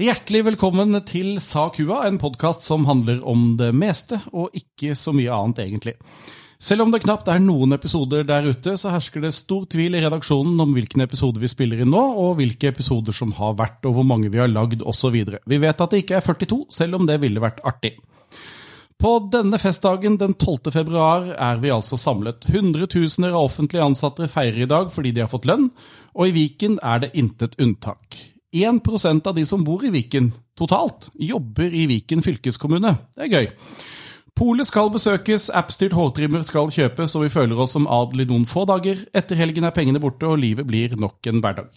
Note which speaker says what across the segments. Speaker 1: Hjertelig velkommen til Sa kua, en podkast som handler om det meste, og ikke så mye annet, egentlig. Selv om det knapt er noen episoder der ute, så hersker det stor tvil i redaksjonen om hvilken episode vi spiller inn nå, og hvilke episoder som har vært, og hvor mange vi har lagd, osv. Vi vet at det ikke er 42, selv om det ville vært artig. På denne festdagen den 12. februar er vi altså samlet. Hundretusener av offentlig ansatte feirer i dag fordi de har fått lønn, og i Viken er det intet unntak. 1 av de som bor i Viken totalt, jobber i Viken fylkeskommune. Det er gøy. Polet skal besøkes, appstyrt hårtrimmer skal kjøpes, og vi føler oss som adel i noen få dager. Etter helgen er pengene borte, og livet blir nok en hverdag.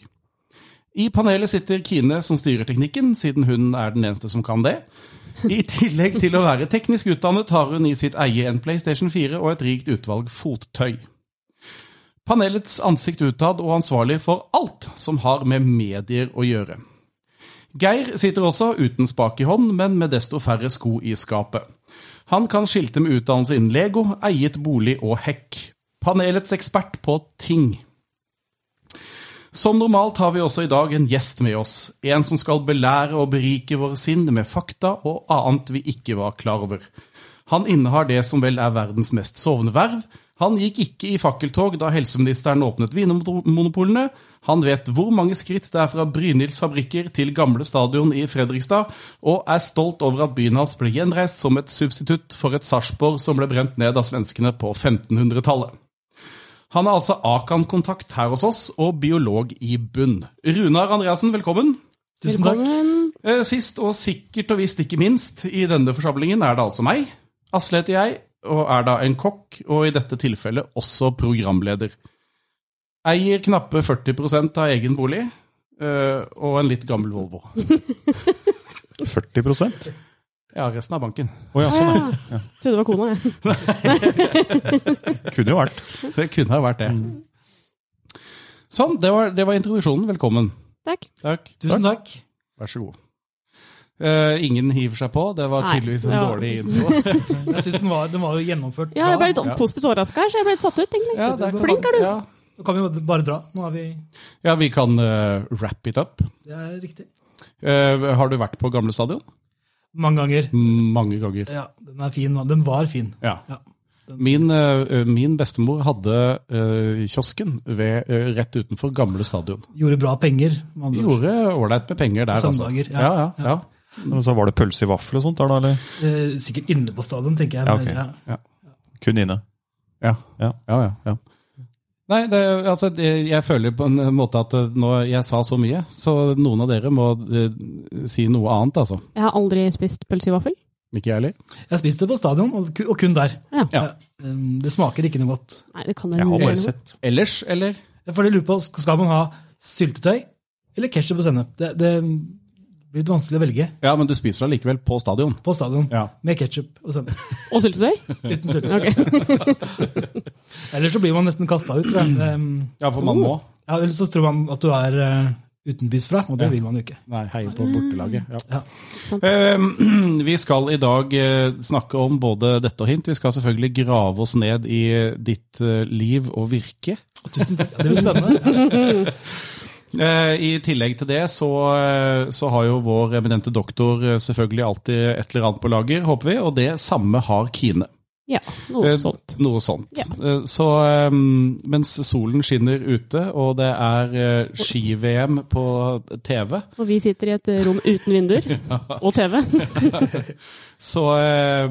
Speaker 1: I panelet sitter Kine, som styrer teknikken, siden hun er den eneste som kan det. I tillegg til å være teknisk utdannet har hun i sitt eie en PlayStation 4 og et rikt utvalg fottøy. Panelets ansikt utad og ansvarlig for alt som har med medier å gjøre. Geir sitter også uten spak i hånd, men med desto færre sko i skapet. Han kan skilte med utdannelse innen Lego, eiet bolig og hekk. Panelets ekspert på ting. Som normalt har vi også i dag en gjest med oss. En som skal belære og berike våre sinn med fakta og annet vi ikke var klar over. Han innehar det som vel er verdens mest sovende verv. Han gikk ikke i fakkeltog da helseministeren åpnet Vinmonopolene. Han vet hvor mange skritt det er fra Brynilds fabrikker til gamle stadion i Fredrikstad, og er stolt over at byen hans ble gjenreist som et substitutt for et Sarpsborg som ble brent ned av svenskene på 1500-tallet. Han er altså Akan-kontakt her hos oss, og biolog i bunn. Runar Andreassen, velkommen.
Speaker 2: Tusen takk.
Speaker 1: Eh, Sist og sikkert og visst ikke minst i denne forsamlingen er det altså meg. Asle heter jeg, og er da en kokk, og i dette tilfellet også programleder. Eier knappe 40 av egen bolig, eh, og en litt gammel Volvo.
Speaker 2: 40 Å
Speaker 1: Ja, resten av banken.
Speaker 2: ja, sånn er det.
Speaker 3: Trodde det var kona, jeg.
Speaker 2: Kunne jo vært.
Speaker 1: Det kunne ha vært det. Sånn, det var, det var introduksjonen. Velkommen.
Speaker 3: Takk.
Speaker 1: Takk.
Speaker 4: Tusen takk.
Speaker 1: Vær så god. Eh, ingen hiver seg på. Det var
Speaker 3: Nei,
Speaker 1: tydeligvis en
Speaker 3: det var-
Speaker 1: dårlig intro.
Speaker 4: Jeg synes den var, den var jo gjennomført
Speaker 3: Ja, jeg ble litt sånn
Speaker 1: Ja.
Speaker 3: positivt overraska her, så jeg ble litt satt ut, egentlig.
Speaker 1: Ja, det
Speaker 3: Flink er du!
Speaker 1: Ja,
Speaker 4: Da kan vi jo bare dra. Nå er vi
Speaker 1: ja vi kan eh, wrap it up.
Speaker 4: Det er riktig.
Speaker 1: Eh, har du vært på Gamle stadion?
Speaker 4: Mange ganger.
Speaker 1: Mange ganger.
Speaker 4: Ja, den er fin. da. Den var fin.
Speaker 1: Ja.
Speaker 4: Ja.
Speaker 1: Min, eh, min bestemor hadde eh, kiosken ved, eh, rett utenfor Gamle stadion.
Speaker 4: Gjorde bra penger. med andre ord.
Speaker 1: Gjorde ålreit med penger der, altså.
Speaker 4: Søndager, ja.
Speaker 1: ja. Ja, ja,
Speaker 2: Men så var det pølse i vaffel og sånt der, da? eller?
Speaker 4: Eh, Sikkert inne på stadion, tenker jeg.
Speaker 2: Ja,
Speaker 4: men
Speaker 2: ok.
Speaker 4: ja.
Speaker 2: Kun inne.
Speaker 1: Ja.
Speaker 2: Ja.
Speaker 1: ja, ja, ja. Nei, det, altså, det, jeg føler på en måte at eh, nå, jeg sa så mye, så noen av dere må eh, si noe annet, altså.
Speaker 3: Jeg har aldri spist pølse i vaffel.
Speaker 1: Ikke jeg heller.
Speaker 4: Jeg spiste på stadion, og ku- og kun der.
Speaker 3: Ja.
Speaker 1: Ja.
Speaker 4: Eh, Det smaker ikke noe godt.
Speaker 3: Nei, det kan
Speaker 2: Jeg
Speaker 3: jeg
Speaker 2: har
Speaker 3: mulig
Speaker 2: bare
Speaker 3: være noe.
Speaker 2: sett.
Speaker 1: Ellers, eller?
Speaker 4: Jeg får lure på, sk- Skal man ha syltetøy eller ketsjup og sennep? Det, det blir litt vanskelig å velge
Speaker 1: Ja, men du spiser det likevel på stadion.
Speaker 4: på stadion.
Speaker 1: Ja.
Speaker 4: Med ketsjup og sennep.
Speaker 3: Og syltetøy?
Speaker 4: Uten syltetøy.
Speaker 3: Ok.
Speaker 4: Ellers så blir man nesten kasta ut, tror jeg. Eh,
Speaker 1: Ja, for man må.
Speaker 4: Ja, Ellers så tror man at du er eh, utenbys fra, og det
Speaker 1: Ja.
Speaker 4: vil man jo ikke.
Speaker 1: Nei, heie på bortelaget. Ja.
Speaker 4: Ja.
Speaker 3: Sant.
Speaker 1: Eh, Vi skal i dag eh, snakke om både dette og hint. Vi skal selvfølgelig grave oss ned i eh, ditt eh, liv og virke.
Speaker 4: Tusen takk. Ja, Det blir spennende.
Speaker 1: Eh, I tillegg til det så, eh, så har jo vår eminente doktor eh, selvfølgelig alltid et eller annet på lager, håper vi. Og det samme har Kine.
Speaker 3: Ja, noe
Speaker 1: Eh,
Speaker 3: sånt.
Speaker 1: Noe sånt.
Speaker 3: Ja.
Speaker 1: Eh, Så eh, mens solen skinner ute, og det er eh, ski-VM på TV,
Speaker 3: Og vi sitter i et eh, rom uten vinduer. Og TV.
Speaker 1: Så eh,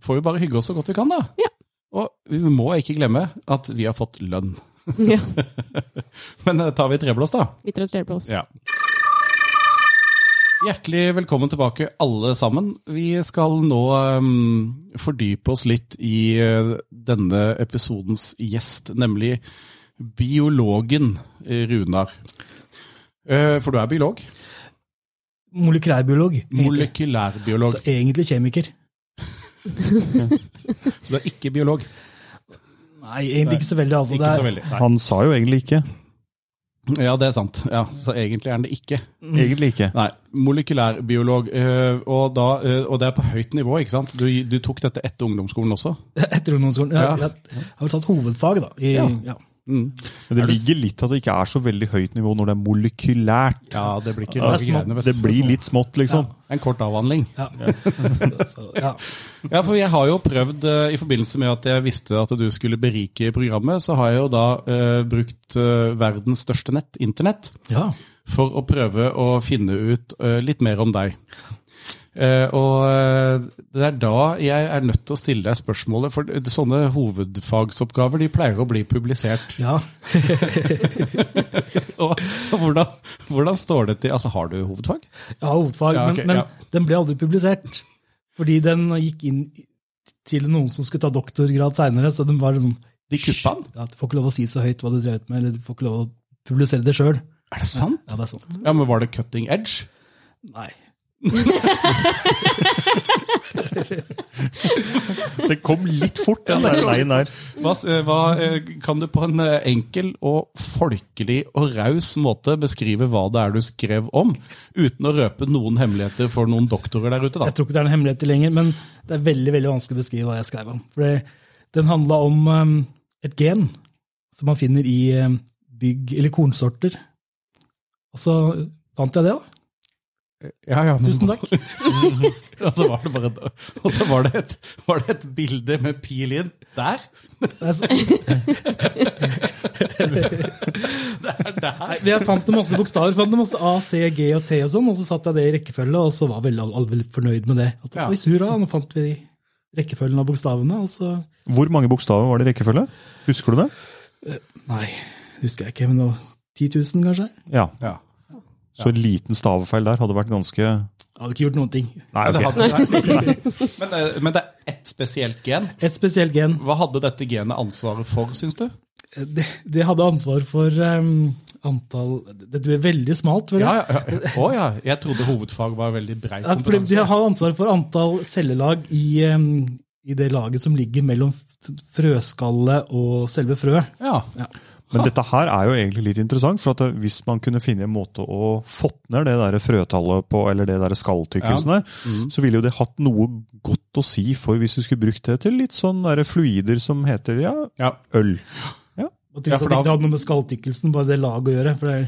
Speaker 1: får vi bare hygge oss så godt vi kan, da.
Speaker 3: Ja.
Speaker 1: Og vi må ikke glemme at vi har fått lønn.
Speaker 3: Ja.
Speaker 1: Men eh, tar vi treblås, da?
Speaker 3: Vi tror det er på oss.
Speaker 1: Ja. Hjertelig velkommen tilbake, alle sammen. Vi skal nå eh, fordype oss litt i eh, denne episodens gjest, nemlig biologen eh, Runar. Eh, for du er biolog?
Speaker 4: Molekylærbiolog. Egentlig.
Speaker 1: Molekylærbiolog.
Speaker 4: Så egentlig kjemiker.
Speaker 1: Så du er ikke biolog?
Speaker 4: Nei, egentlig ikke så veldig. Altså.
Speaker 1: Ikke
Speaker 4: Det er-
Speaker 1: så veldig. Nei.
Speaker 2: Han sa jo egentlig ikke.
Speaker 1: Ja, det er sant. Ja, så egentlig er han det ikke.
Speaker 2: Egentlig ikke.
Speaker 1: Nei, molekylærbiolog. eh, Og, da, eh, og det er på høyt nivå, ikke sant? Du, du tok dette etter ungdomsskolen også?
Speaker 4: Etter ungdomsskolen. Jeg,
Speaker 1: Ja.
Speaker 4: jeg, jeg har vel tatt hovedfag, da. I,
Speaker 1: Ja.
Speaker 4: ja.
Speaker 1: Mm.
Speaker 2: Men det
Speaker 1: Er du-
Speaker 2: ligger litt at det ikke er så veldig høyt nivå når det er molekylært.
Speaker 1: Ja, det blir ikke
Speaker 2: Altså,
Speaker 1: rare greiene.
Speaker 2: det blir litt smått, liksom.
Speaker 1: En kort avhandling.
Speaker 4: Ja. Så, ja.
Speaker 1: Ja, for jeg har jo prøvd, eh, i forbindelse med at jeg visste at du skulle berike programmet, så har jeg jo da eh, brukt eh, verdens største nett, internett,
Speaker 4: ja.
Speaker 1: for å prøve å finne ut eh, litt mer om deg. Eh, og eh, det er da jeg er nødt til å stille deg spørsmålet, for sånne hovedfagsoppgaver de pleier å bli publisert.
Speaker 4: ja.
Speaker 1: Og hvordan, hvordan står det til? Altså, har du hovedfag?
Speaker 4: Jeg har hovedfag,
Speaker 1: Ja, ok,
Speaker 4: men, men
Speaker 1: ja.
Speaker 4: den ble aldri publisert. Fordi den gikk inn til noen som skulle ta doktorgrad seinere, så den var sånn
Speaker 1: De kuppa den?
Speaker 4: ja, Du får ikke lov å si så høyt hva du drev ut med, eller du får ikke lov å publisere det sjøl.
Speaker 1: Er det sant?
Speaker 4: Ja, det er sant.
Speaker 1: Ja, men var det cutting edge?
Speaker 4: Nei.
Speaker 2: Det kom litt fort, den der veien der.
Speaker 1: Hva, s- eh, hva, eh, kan du på en eh, enkel og folkelig og raus måte beskrive hva det er du skrev om, uten å røpe noen hemmeligheter for noen doktorer der ute? da?
Speaker 4: Jeg tror ikke det er noen hemmeligheter lenger, men det er veldig veldig vanskelig å beskrive hva jeg skrev om. For det, den handla om ehm, et gen som man finner i ehm, bygg- eller kornsorter. Og så fant jeg det, da.
Speaker 1: Ja, ja, men-
Speaker 4: Tusen takk.
Speaker 1: Og så var det bare et- og så var det et, var det et bilde med pil inn der.
Speaker 4: Det er så-
Speaker 1: Det er der.
Speaker 4: Nei, men Jeg fant det masse bokstaver. fant det masse A, C, G og T og sånn, og så satte jeg det i rekkefølge, og så var vel alle alle veldig fornøyd med det. At,
Speaker 1: Ja.
Speaker 4: Oi, så hurra, nå fant vi rekkefølgen av bokstavene, og så
Speaker 2: Hvor mange bokstaver var det i rekkefølge? Husker du det?
Speaker 4: Nei, husker jeg ikke, men det var 10 000, kanskje?
Speaker 2: Ja.
Speaker 1: Ja.
Speaker 2: Så en liten stavefeil der hadde vært ganske
Speaker 4: Jeg hadde ikke gjort noen ting.
Speaker 2: Nei,
Speaker 1: Men, det
Speaker 2: ok.
Speaker 1: hadde, nei, men, eh, men det er ett spesielt gen.
Speaker 4: Et spesielt gen.
Speaker 1: Hva hadde dette genet ansvaret for, syns du?
Speaker 4: Det, det hadde ansvar for ehm, antall Dette ble veldig smalt, føler jeg.
Speaker 1: Ja, ja, ja. Å ja. Jeg trodde hovedfag var veldig brei
Speaker 4: At fordi de
Speaker 1: kompetanse.
Speaker 4: har ansvar for antall cellelag i, ehm, i det laget som ligger mellom frøskallet og selve frøet.
Speaker 1: Ja.
Speaker 2: Men dette her er jo egentlig litt interessant, for at eh, hvis man kunne finne en måte å fått ned det der frøtallet på, eller det der skalltykkelsen der,
Speaker 1: Mm.
Speaker 2: så ville jo det hatt noe godt å si for hvis du skulle brukt det til litt sånn der fluider som heter ja,
Speaker 1: ja.
Speaker 2: øl.
Speaker 4: Og
Speaker 1: Ja,
Speaker 4: til
Speaker 1: for da-
Speaker 4: at det ikke hadde noe med skalltykkelsen, bare det laget å gjøre. For det,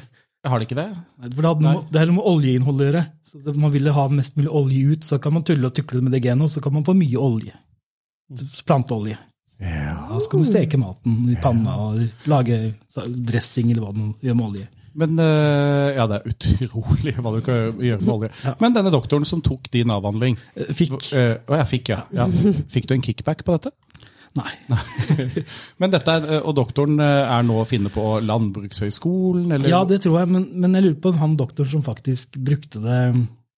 Speaker 1: Har det ikke det?
Speaker 4: nei, for det hadde noe, det hadde noe med oljeinnholdet å gjøre. Så det, man ville ha mest mulig olje ut, så kan man tulle og tukle med det genet, og så kan man få mye olje.
Speaker 1: Mm.
Speaker 4: Planteolje.
Speaker 2: Ja.
Speaker 4: Og så kan du steke maten i panna og lage sa- dressing eller hva man gjør med olje.
Speaker 1: Men eh, Ja, det er utrolig hva du kan gjøre med olje. Men denne doktoren som tok din avhandling
Speaker 4: Eh, Fikk.
Speaker 1: eh, Å, jeg fikk, ja. ja. Fikk du en kickback på dette?
Speaker 4: Nei.
Speaker 1: Men dette er, eh, Og doktoren eh, er nå å finne på Landbrukshøgskolen, eller?
Speaker 4: Ja, det tror jeg, men, men jeg lurer på om han doktoren som faktisk brukte det,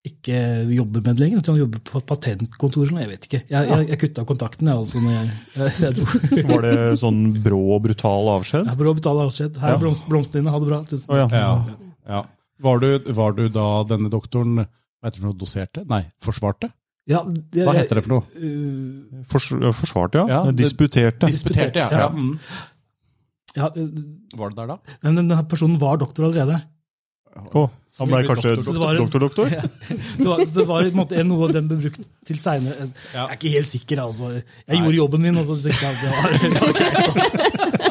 Speaker 4: ikke jobber med det lenger. Han jobber på patentkontoret nå, jeg vet ikke. Jeg, jeg, jeg kutta kontakten, jeg, altså. Når jeg, jeg, jeg dro.
Speaker 2: Var det sånn brå og brutal avskjed?
Speaker 4: Jeg bør betale avskjed. Her er blomst, blomstene, ha det bra. Tusen
Speaker 2: Å ja.
Speaker 1: ja. ja. Var, du, var du da denne doktoren hva heter det for noe, doserte? Nei, forsvarte?
Speaker 4: Ja, det,
Speaker 1: Hva heter det for noe?
Speaker 4: Uh,
Speaker 2: Fors, forsvarte, ja.
Speaker 1: Ja, det-
Speaker 2: Disputerte.
Speaker 1: Disputerte, ja. ja.
Speaker 4: Ja.
Speaker 1: Mm.
Speaker 4: ja, uh,
Speaker 1: Var det der da?
Speaker 4: men denne personen var doktor allerede.
Speaker 2: Å, han ble kanskje
Speaker 1: Doktor,
Speaker 4: doktor.
Speaker 2: doktor-doktor?
Speaker 4: Det var, så det var på en måte noe den ble brukt til seinere.
Speaker 1: Ja.
Speaker 4: Jeg er ikke helt sikker, altså. Jeg
Speaker 1: Nei.
Speaker 4: gjorde jobben min, og så tenkte jeg at det var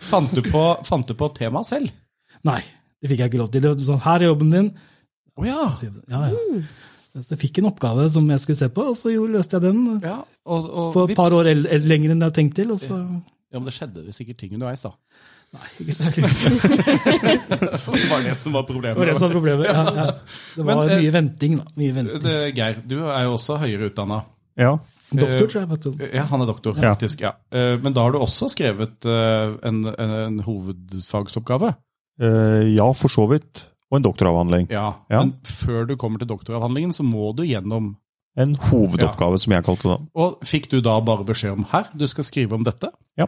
Speaker 1: Fant du på, fant du på temaet selv?
Speaker 4: Nei, det fikk jeg ikke lov til. Det var sånn, her er jobben din.
Speaker 1: Å ja.
Speaker 4: Så, jeg- ja, ja. så jeg fikk en oppgave som jeg skulle se på, og så jo, løste jeg den. eh,
Speaker 1: ja. Og, og,
Speaker 4: For et par
Speaker 1: vips.
Speaker 4: år el- el- lenger enn jeg hadde tenkt til. Og så,
Speaker 1: Ja, men det skjedde sikkert ting underveis, da.
Speaker 4: nei, ikke så veldig-
Speaker 1: Det var det som var problemet.
Speaker 4: det var det som var problemet. Ja, ja. Det var
Speaker 1: Men, eh,
Speaker 4: mye venting, da. Mye venting.
Speaker 1: Det, Geir, du er jo også høyere utdanna.
Speaker 2: Ja.
Speaker 4: Doktor, tror jeg. vet du.
Speaker 1: Ja, han er doktor,
Speaker 2: Ja.
Speaker 1: faktisk. Ja. Eh, Men da har du også skrevet eh, en, en, en hovedfagsoppgave.
Speaker 2: Eh, ja, for så vidt. Og en doktoravhandling.
Speaker 1: Ja.
Speaker 2: Ja.
Speaker 1: Men før du kommer til doktoravhandlingen, så må du gjennom.
Speaker 2: En hovedoppgave, som jeg kalte det.
Speaker 1: Og fikk du da bare beskjed om her, du skal skrive om dette?
Speaker 2: Ja.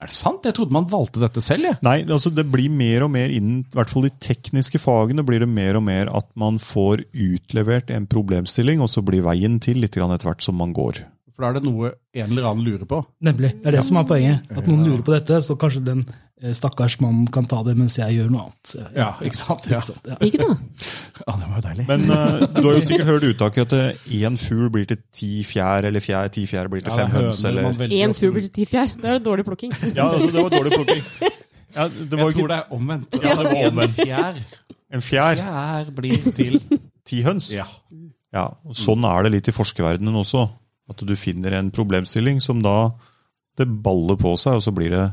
Speaker 1: Er det sant? Jeg trodde man valgte dette selv, jeg.
Speaker 2: Nei, altså det blir mer og mer innen i hvert fall de tekniske fagene blir det mer og mer at man får utlevert en problemstilling, og så blir veien til litt grann etter hvert som man går.
Speaker 1: For da er det noe en eller annen lurer på.
Speaker 4: Nemlig. Det er det som er poenget. At noen lurer på dette, så kanskje den eh, stakkars mannen kan ta det mens jeg gjør noe annet.
Speaker 1: Ja, ikke sant? Ja.
Speaker 4: sant? Ja.
Speaker 3: Ikke da?
Speaker 1: Ja, det var jo deilig.
Speaker 2: Men eh, du har jo sikkert hørt uttaket at én fugl blir til ti fjær, eller fjær, ti fjær blir til
Speaker 1: Ja, det er
Speaker 2: fem høns,
Speaker 1: høner man
Speaker 2: eller
Speaker 1: veldig
Speaker 3: Én
Speaker 1: ofte-
Speaker 3: fugl blir til ti fjær. Det er dårlig plukking.
Speaker 2: Ja, altså, det var dårlig plukking. Ja, det var
Speaker 1: Jeg
Speaker 2: ikke
Speaker 1: tror det er omvendt.
Speaker 2: Ja, det var omvendt.
Speaker 1: En fjær,
Speaker 2: en fjær,
Speaker 1: fjær blir til
Speaker 2: ti høns.
Speaker 1: Ja.
Speaker 2: Ja, og Sånn er det litt i forskerverdenen også. At du finner en problemstilling som da det baller på seg, og så blir det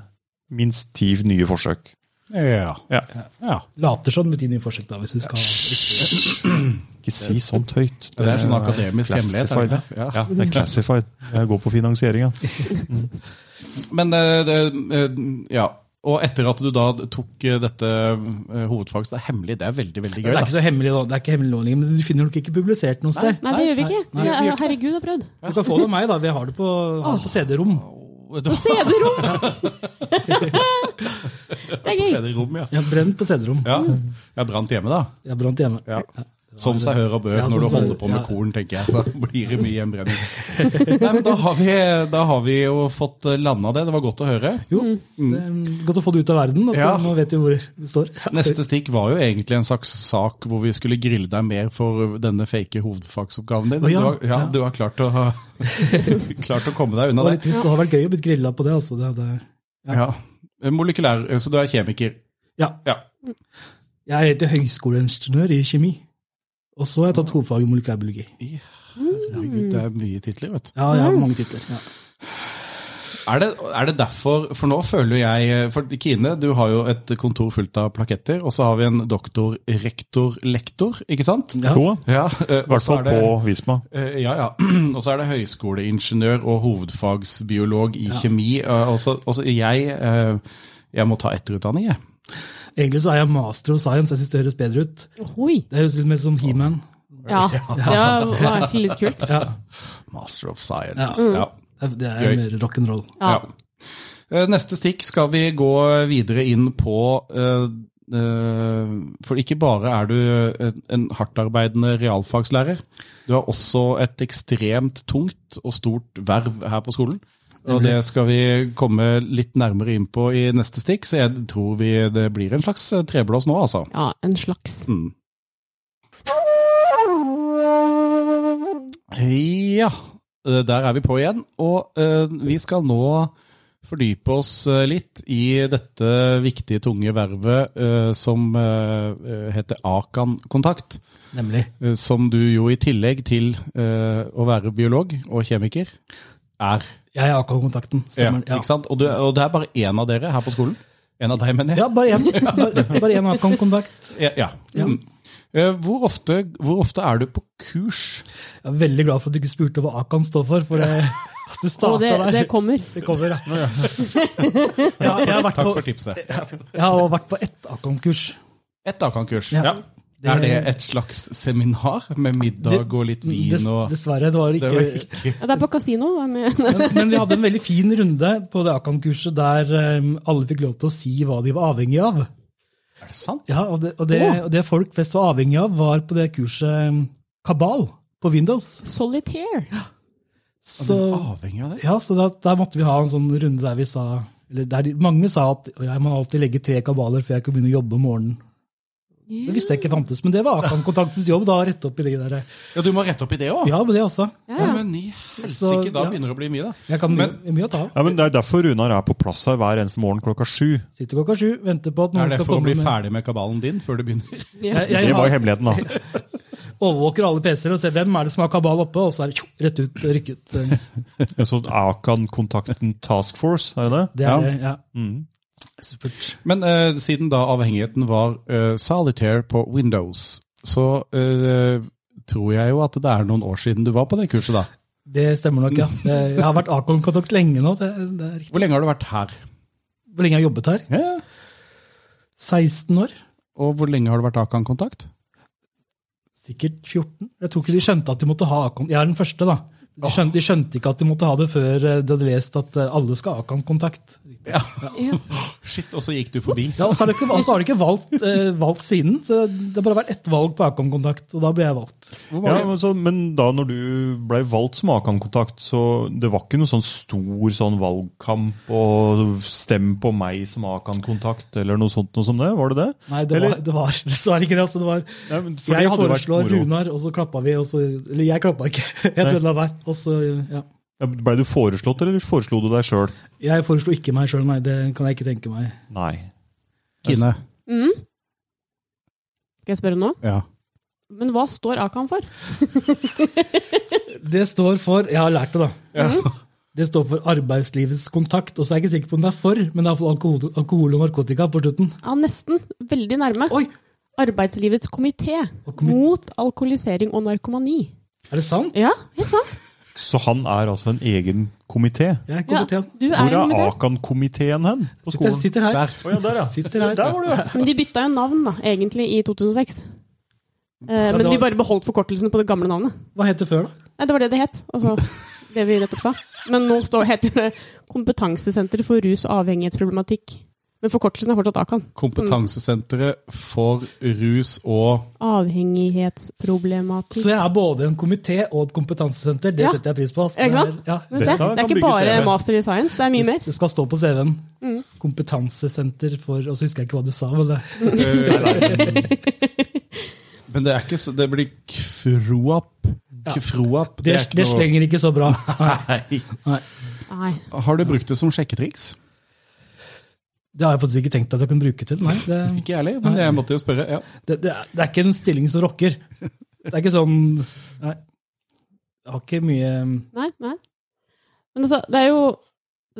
Speaker 2: minst ti nye forsøk.
Speaker 1: Ja.
Speaker 2: Ja.
Speaker 1: ja.
Speaker 4: Later sånn med ti nye forsøk, da, hvis du skal
Speaker 2: Ikke si sånt høyt.
Speaker 1: Det er sånn akademisk hemmelighet. er det ikke? Ja.
Speaker 2: Ja, det er classified. Jeg går på finansieringa.
Speaker 1: Men eh, det, eh, ja. Og etter at du da tok eh, dette eh, hovedfagst, det er hemmelig, det er veldig, veldig gøy.
Speaker 4: Det er
Speaker 1: Da.
Speaker 4: ikke så hemmelig, da. Det er ikke hemmelig nå lenger, men du finner det nok ikke publisert noe sted.
Speaker 3: Nei, det gjør vi ikke.
Speaker 1: Nei, nei, vi gjør ikke det.
Speaker 3: Herregud, jeg har prøvd.
Speaker 4: Du kan få det av meg, da. Vi har det på, har det på CD-rom.
Speaker 1: Det var
Speaker 3: CD-rom! Det er
Speaker 1: på
Speaker 3: gøy.
Speaker 1: CD-rom, ja.
Speaker 4: Jeg har brent på CD-rom.
Speaker 1: ja. Jeg brant hjemme, da.
Speaker 4: Jeg har brent hjemme.
Speaker 1: Ja.
Speaker 4: Ja.
Speaker 1: Som seg hør og bør
Speaker 4: Ja, som
Speaker 1: når du
Speaker 4: seg-
Speaker 1: holder på med
Speaker 4: ja.
Speaker 1: korn, tenker jeg. Så blir det mye hjembrenning. Nei, men da har, vi, eh, da har vi jo fått landa det. Det var godt å høre.
Speaker 4: Jo, det er godt å få det ut av verden. At
Speaker 1: Mm. Ja.
Speaker 4: Nå vet vi hvor vi står.
Speaker 1: Neste stikk var jo egentlig en slags sak hvor vi skulle grille deg mer for denne fake hovedfagsoppgaven din.
Speaker 4: Å ja,
Speaker 1: Du, har, ja,
Speaker 4: ja.
Speaker 1: du har klart å, klart å komme deg
Speaker 4: Det
Speaker 1: unna
Speaker 4: var
Speaker 1: det.
Speaker 4: litt trist. Det hadde vært gøy å bli grilla på det. Altså. det hadde...
Speaker 1: Ja. Molekylær, så du er kjemiker.
Speaker 4: ja.
Speaker 1: Ja.
Speaker 4: Jeg er egentlig høyskoleingeniør i kjemi. Og så har jeg tatt hovedfag i molekylærbiologi.
Speaker 1: Herregud, det er mye titler, vet du.
Speaker 4: Ja, jeg har mange titler. Ja.
Speaker 1: Er det, er det derfor, for nå føler jeg, for Kine, du har jo et kontor fullt av plaketter, og så har vi en doktor, rektor, lektor, ikke sant?
Speaker 4: Ja.
Speaker 2: Jo,
Speaker 1: Ja,
Speaker 2: i hvert fall på Visma.
Speaker 1: Eh, Ja, ja. Og så er det høyskoleingeniør og hovedfagsbiolog i
Speaker 4: Ja.
Speaker 1: kjemi. Eh, Og så og så jeg eh, Jeg må ta etterutdanning, jeg.
Speaker 4: Egentlig så er jeg master of science. Jeg syns det høres bedre ut.
Speaker 3: Oi.
Speaker 4: Det høres litt mer som He-Man.
Speaker 3: Ja, det var egentlig litt kult.
Speaker 4: Ja.
Speaker 1: Master of science.
Speaker 3: Ja.
Speaker 1: Ja.
Speaker 4: Det er
Speaker 1: Gøy.
Speaker 4: mer rock'n'roll.
Speaker 1: ja.
Speaker 3: Ja.
Speaker 1: Eh, Neste stikk skal vi gå videre inn på eh, eh, For ikke bare er du en- en hardtarbeidende realfagslærer, du har også et ekstremt tungt og stort verv her på skolen. Og det skal vi komme litt nærmere inn på i neste stikk, så jeg tror vi, det blir en slags treblås nå, altså.
Speaker 3: Ja, en slags.
Speaker 1: Mm. Ja, eh, der er vi på igjen. Og eh, vi skal nå fordype oss eh, litt i dette viktige, tunge vervet eh, som eh, heter Akan-kontakt.
Speaker 4: Nemlig.
Speaker 1: eh, Som du jo i tillegg til eh, å være biolog og kjemiker, er.
Speaker 4: Jeg er AK-kontakten.
Speaker 1: Ja,
Speaker 4: Stemmer. Ja.
Speaker 1: ikke sant? Og, du, og det er bare én av dere her på skolen. En av deg, mener jeg.
Speaker 4: Ja, bare én. Bare, bare én AK-kontakt.
Speaker 1: Ja. ja.
Speaker 4: Ja.
Speaker 1: Mm. Eh, Hvor, ofte, hvor ofte er du på kurs?
Speaker 4: Jeg er veldig glad for at du ikke spurte hva Akan står for, for det, du
Speaker 3: Og
Speaker 4: starta
Speaker 3: det,
Speaker 4: der.
Speaker 3: det kommer.
Speaker 4: Det kommer, ja. ja jeg, har vært
Speaker 1: Takk
Speaker 4: på,
Speaker 1: for tipset.
Speaker 4: jeg har vært på ett Akan-kurs.
Speaker 1: Ett Akan-kurs.
Speaker 4: Ja.
Speaker 1: Ja. Er det et slags seminar med middag og litt vin
Speaker 4: Dess,
Speaker 1: og
Speaker 4: dessverre, det var
Speaker 1: Det
Speaker 4: ikke,
Speaker 1: var ikke
Speaker 3: Ja, Det er på kasino. hva med-
Speaker 4: men, men vi hadde en veldig fin runde på det Akan-kurset der eh, alle fikk lov til å si hva de var avhengig av.
Speaker 1: Er det sant?
Speaker 4: Ja, og det, og det, og det folk flest var avhengig av, var på det kurset eh, Kabal på Windows.
Speaker 3: Solitaire.
Speaker 4: Så,
Speaker 1: Avhengig av det?
Speaker 4: ja, så da, der måtte vi ha en sånn runde der vi sa eller der de, Mange sa at «Å, jeg må alltid legge tre kabaler før jeg kan begynne å jobbe om morgenen. Det visste jeg ikke fantes, men det var Akan-kontaktens jobb. da, å rette opp i det der.
Speaker 1: Ja, du må rette opp i det òg?
Speaker 4: Ja, men det også.
Speaker 3: Ja, ja.
Speaker 1: Men i
Speaker 4: Så,
Speaker 1: helsike, da
Speaker 4: ja.
Speaker 1: begynner det å bli mye, da.
Speaker 4: Jeg kan mye,
Speaker 1: Men-
Speaker 4: mye å ta av.
Speaker 2: Ja, men Det er derfor Runar er på plass her hver eneste morgen klokka sju.
Speaker 4: Sitter klokka sju, venter på at noen
Speaker 1: Er det
Speaker 4: skal
Speaker 1: for å
Speaker 4: komme
Speaker 1: bli
Speaker 4: med
Speaker 1: ferdig med kabalen din før du begynner?
Speaker 4: Jeg, jeg,
Speaker 2: Det var
Speaker 4: har-
Speaker 2: hemmeligheten, da.
Speaker 4: overvåker alle PC-er og ser hvem er det som har kabal oppe, og så er det tjo, rett ut, rykke ut.
Speaker 2: En sånn Akan-kontakten Task Force, er det det?
Speaker 4: Det
Speaker 1: Ja.
Speaker 4: er, ja.
Speaker 2: Mm.
Speaker 4: Supert.
Speaker 1: Men eh, siden da avhengigheten var eh, solitaire på Windows, så eh, tror jeg jo at det er noen år siden du var på det kurset, da.
Speaker 4: Det stemmer nok, ja. Det, jeg har vært Akan-kontakt lenge nå. Det, det er riktig.
Speaker 1: Hvor lenge har du vært her?
Speaker 4: Hvor lenge har jeg jobbet her?
Speaker 1: Ja.
Speaker 4: 16 år?
Speaker 1: Og hvor lenge har du vært Akan-kontakt?
Speaker 4: Sikkert 14. Jeg tror ikke de skjønte at de måtte ha Akan. Jeg er den første, da. De skjønte, de skjønte ikke at de måtte ha det før eh, de hadde lest at eh, alle skal ha kontakt.
Speaker 3: Ja.
Speaker 1: Shit, og så gikk du forbi.
Speaker 4: Ja, og så har de ikke, og så har de ikke valgt, eh, valgt siden. så Det har bare vært ett valg på Akom-kontakt, og da ble jeg valgt.
Speaker 2: Ja, men, så, men da når du ble valgt som Akan-kontakt, så det var ikke noe sånn stor sånn valgkamp og stem på meg som Akan-kontakt eller noe sånt noe som det? Var det det?
Speaker 4: Nei, det var,
Speaker 2: Eller-
Speaker 4: det var dessverre ikke det. Altså, det var,
Speaker 2: Nei, men for det
Speaker 4: jeg
Speaker 2: hadde vært
Speaker 4: foreslår
Speaker 2: moro.
Speaker 4: Runar, og så klappa vi. Og så, eller jeg klappa ikke. Jeg
Speaker 2: Nei.
Speaker 4: trodde det var. Og så, ja.
Speaker 2: Ja, Ble du foreslått, eller foreslo du deg sjøl?
Speaker 4: Jeg foreslo ikke meg sjøl, nei. Det kan jeg ikke tenke meg.
Speaker 2: Nei.
Speaker 1: Kine.
Speaker 3: Mm. Skal jeg spørre nå?
Speaker 1: Ja.
Speaker 3: Men hva står Akan for?
Speaker 4: Det står for Jeg har lært det, da. Mhm. Det står for Arbeidslivets kontakt. Og så er jeg ikke sikker på om det er for, men det er iallfall alkohol, alkohol og narkotika på slutten.
Speaker 3: Ja, nesten. Veldig nærme.
Speaker 4: Oi!
Speaker 3: Arbeidslivets komité
Speaker 4: Og komi-
Speaker 3: mot alkoholisering og narkomani.
Speaker 4: Er det sant?
Speaker 3: Ja, helt sant.
Speaker 2: Så han er altså en egen komité?
Speaker 4: Jeg er
Speaker 3: Ja,
Speaker 4: kompetent.
Speaker 3: du
Speaker 2: Hvor
Speaker 3: er
Speaker 2: er
Speaker 3: komité.
Speaker 2: Akan-komiteen hen? På
Speaker 4: Sitter,
Speaker 2: skolen?
Speaker 4: sitter her.
Speaker 1: Der.
Speaker 2: Å ja, der, ja.
Speaker 4: Sitter her.
Speaker 2: Der var du, ja.
Speaker 3: Men de bytta jo navn, da, egentlig, i 2006. Eh,
Speaker 4: det
Speaker 3: men
Speaker 4: var-
Speaker 3: vi bare beholdt forkortelsen på det gamle navnet.
Speaker 4: Hva het det før, da?
Speaker 3: Nei, det var det det het. Altså, det vi nettopp sa. Men nå står, heter det Kompetansesenter for rus- og avhengighetsproblematikk. Men forkortelsen er fortsatt Akan.
Speaker 1: Kompetansesenteret for rus og
Speaker 3: Avhengighetsproblematikk.
Speaker 4: Så jeg er både en komité og et kompetansesenter. Det
Speaker 3: Ja.
Speaker 4: setter jeg pris på. ass.
Speaker 3: Ikke sant?
Speaker 4: Det er- ja.
Speaker 3: Men se,
Speaker 2: Dette
Speaker 3: det er
Speaker 2: kan
Speaker 3: ikke
Speaker 2: bygge
Speaker 3: bare
Speaker 2: CV.
Speaker 3: master i science, det er mye mer.
Speaker 4: Det skal stå på CV-en. Kompetansesenter for Og så husker jeg ikke hva du sa. Men det,
Speaker 1: Men det er ikke så Det blir kroap. Kroap.
Speaker 4: det, det slenger ikke så bra.
Speaker 1: Nei.
Speaker 3: Nei.
Speaker 1: Har du brukt det som sjekketriks?
Speaker 4: Det har jeg faktisk ikke tenkt at jeg kunne bruke til. Nei, det,
Speaker 1: Ikke jeg heller, men jeg måtte jo spørre. Ja.
Speaker 4: det, det, er, det er ikke en stilling som rocker. Det er ikke sånn Nei. Jeg har ikke mye
Speaker 3: Nei, nei. Men altså, det er jo,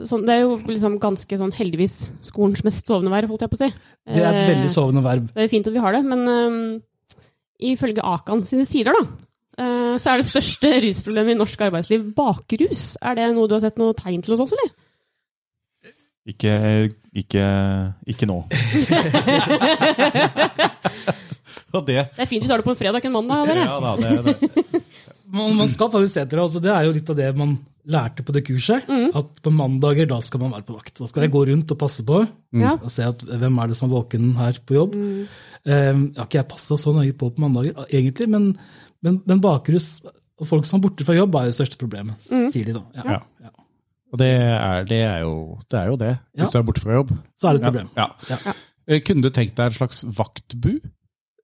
Speaker 3: sånn, det er jo liksom ganske sånn heldigvis skolens mest sovende vær, holdt jeg på å si.
Speaker 4: Det er
Speaker 3: Eh.
Speaker 4: et veldig sovende verb.
Speaker 3: Det er jo fint at vi har det, men øhm, ifølge Akan sine sider, da, øh, så er det største rusproblemet i norsk arbeidsliv bakrus. Er det noe du har sett noe tegn til hos oss, eller?
Speaker 2: Ikke, ikke, ikke nå.
Speaker 1: Og det
Speaker 3: Det er fint hvis du har det på en fredag, ikke en mandag. Dere.
Speaker 1: Ja da, det, det.
Speaker 4: Man, man skal faktisk se til det. Altså, det er jo litt av det man lærte på det kurset.
Speaker 3: Mm.
Speaker 4: At på mandager da skal man være på vakt. Da skal jeg gå rundt og passe på.
Speaker 3: Ja. Mm.
Speaker 4: Og se at hvem er det som er våken her på jobb. Um, jeg har ikke jeg passa så nøye på på mandager, egentlig, men, men, men bakrus og folk som er borte fra jobb, er jo det største problemet,
Speaker 3: Mm.
Speaker 4: sier de da. Ja.
Speaker 1: Ja. Og det er, det er jo det. Er jo det
Speaker 4: Ja.
Speaker 1: Hvis du er borte fra jobb.
Speaker 4: Så er det et problem.
Speaker 1: Ja.
Speaker 4: Ja.
Speaker 1: Eh, Kunne du tenkt deg en slags vaktbu?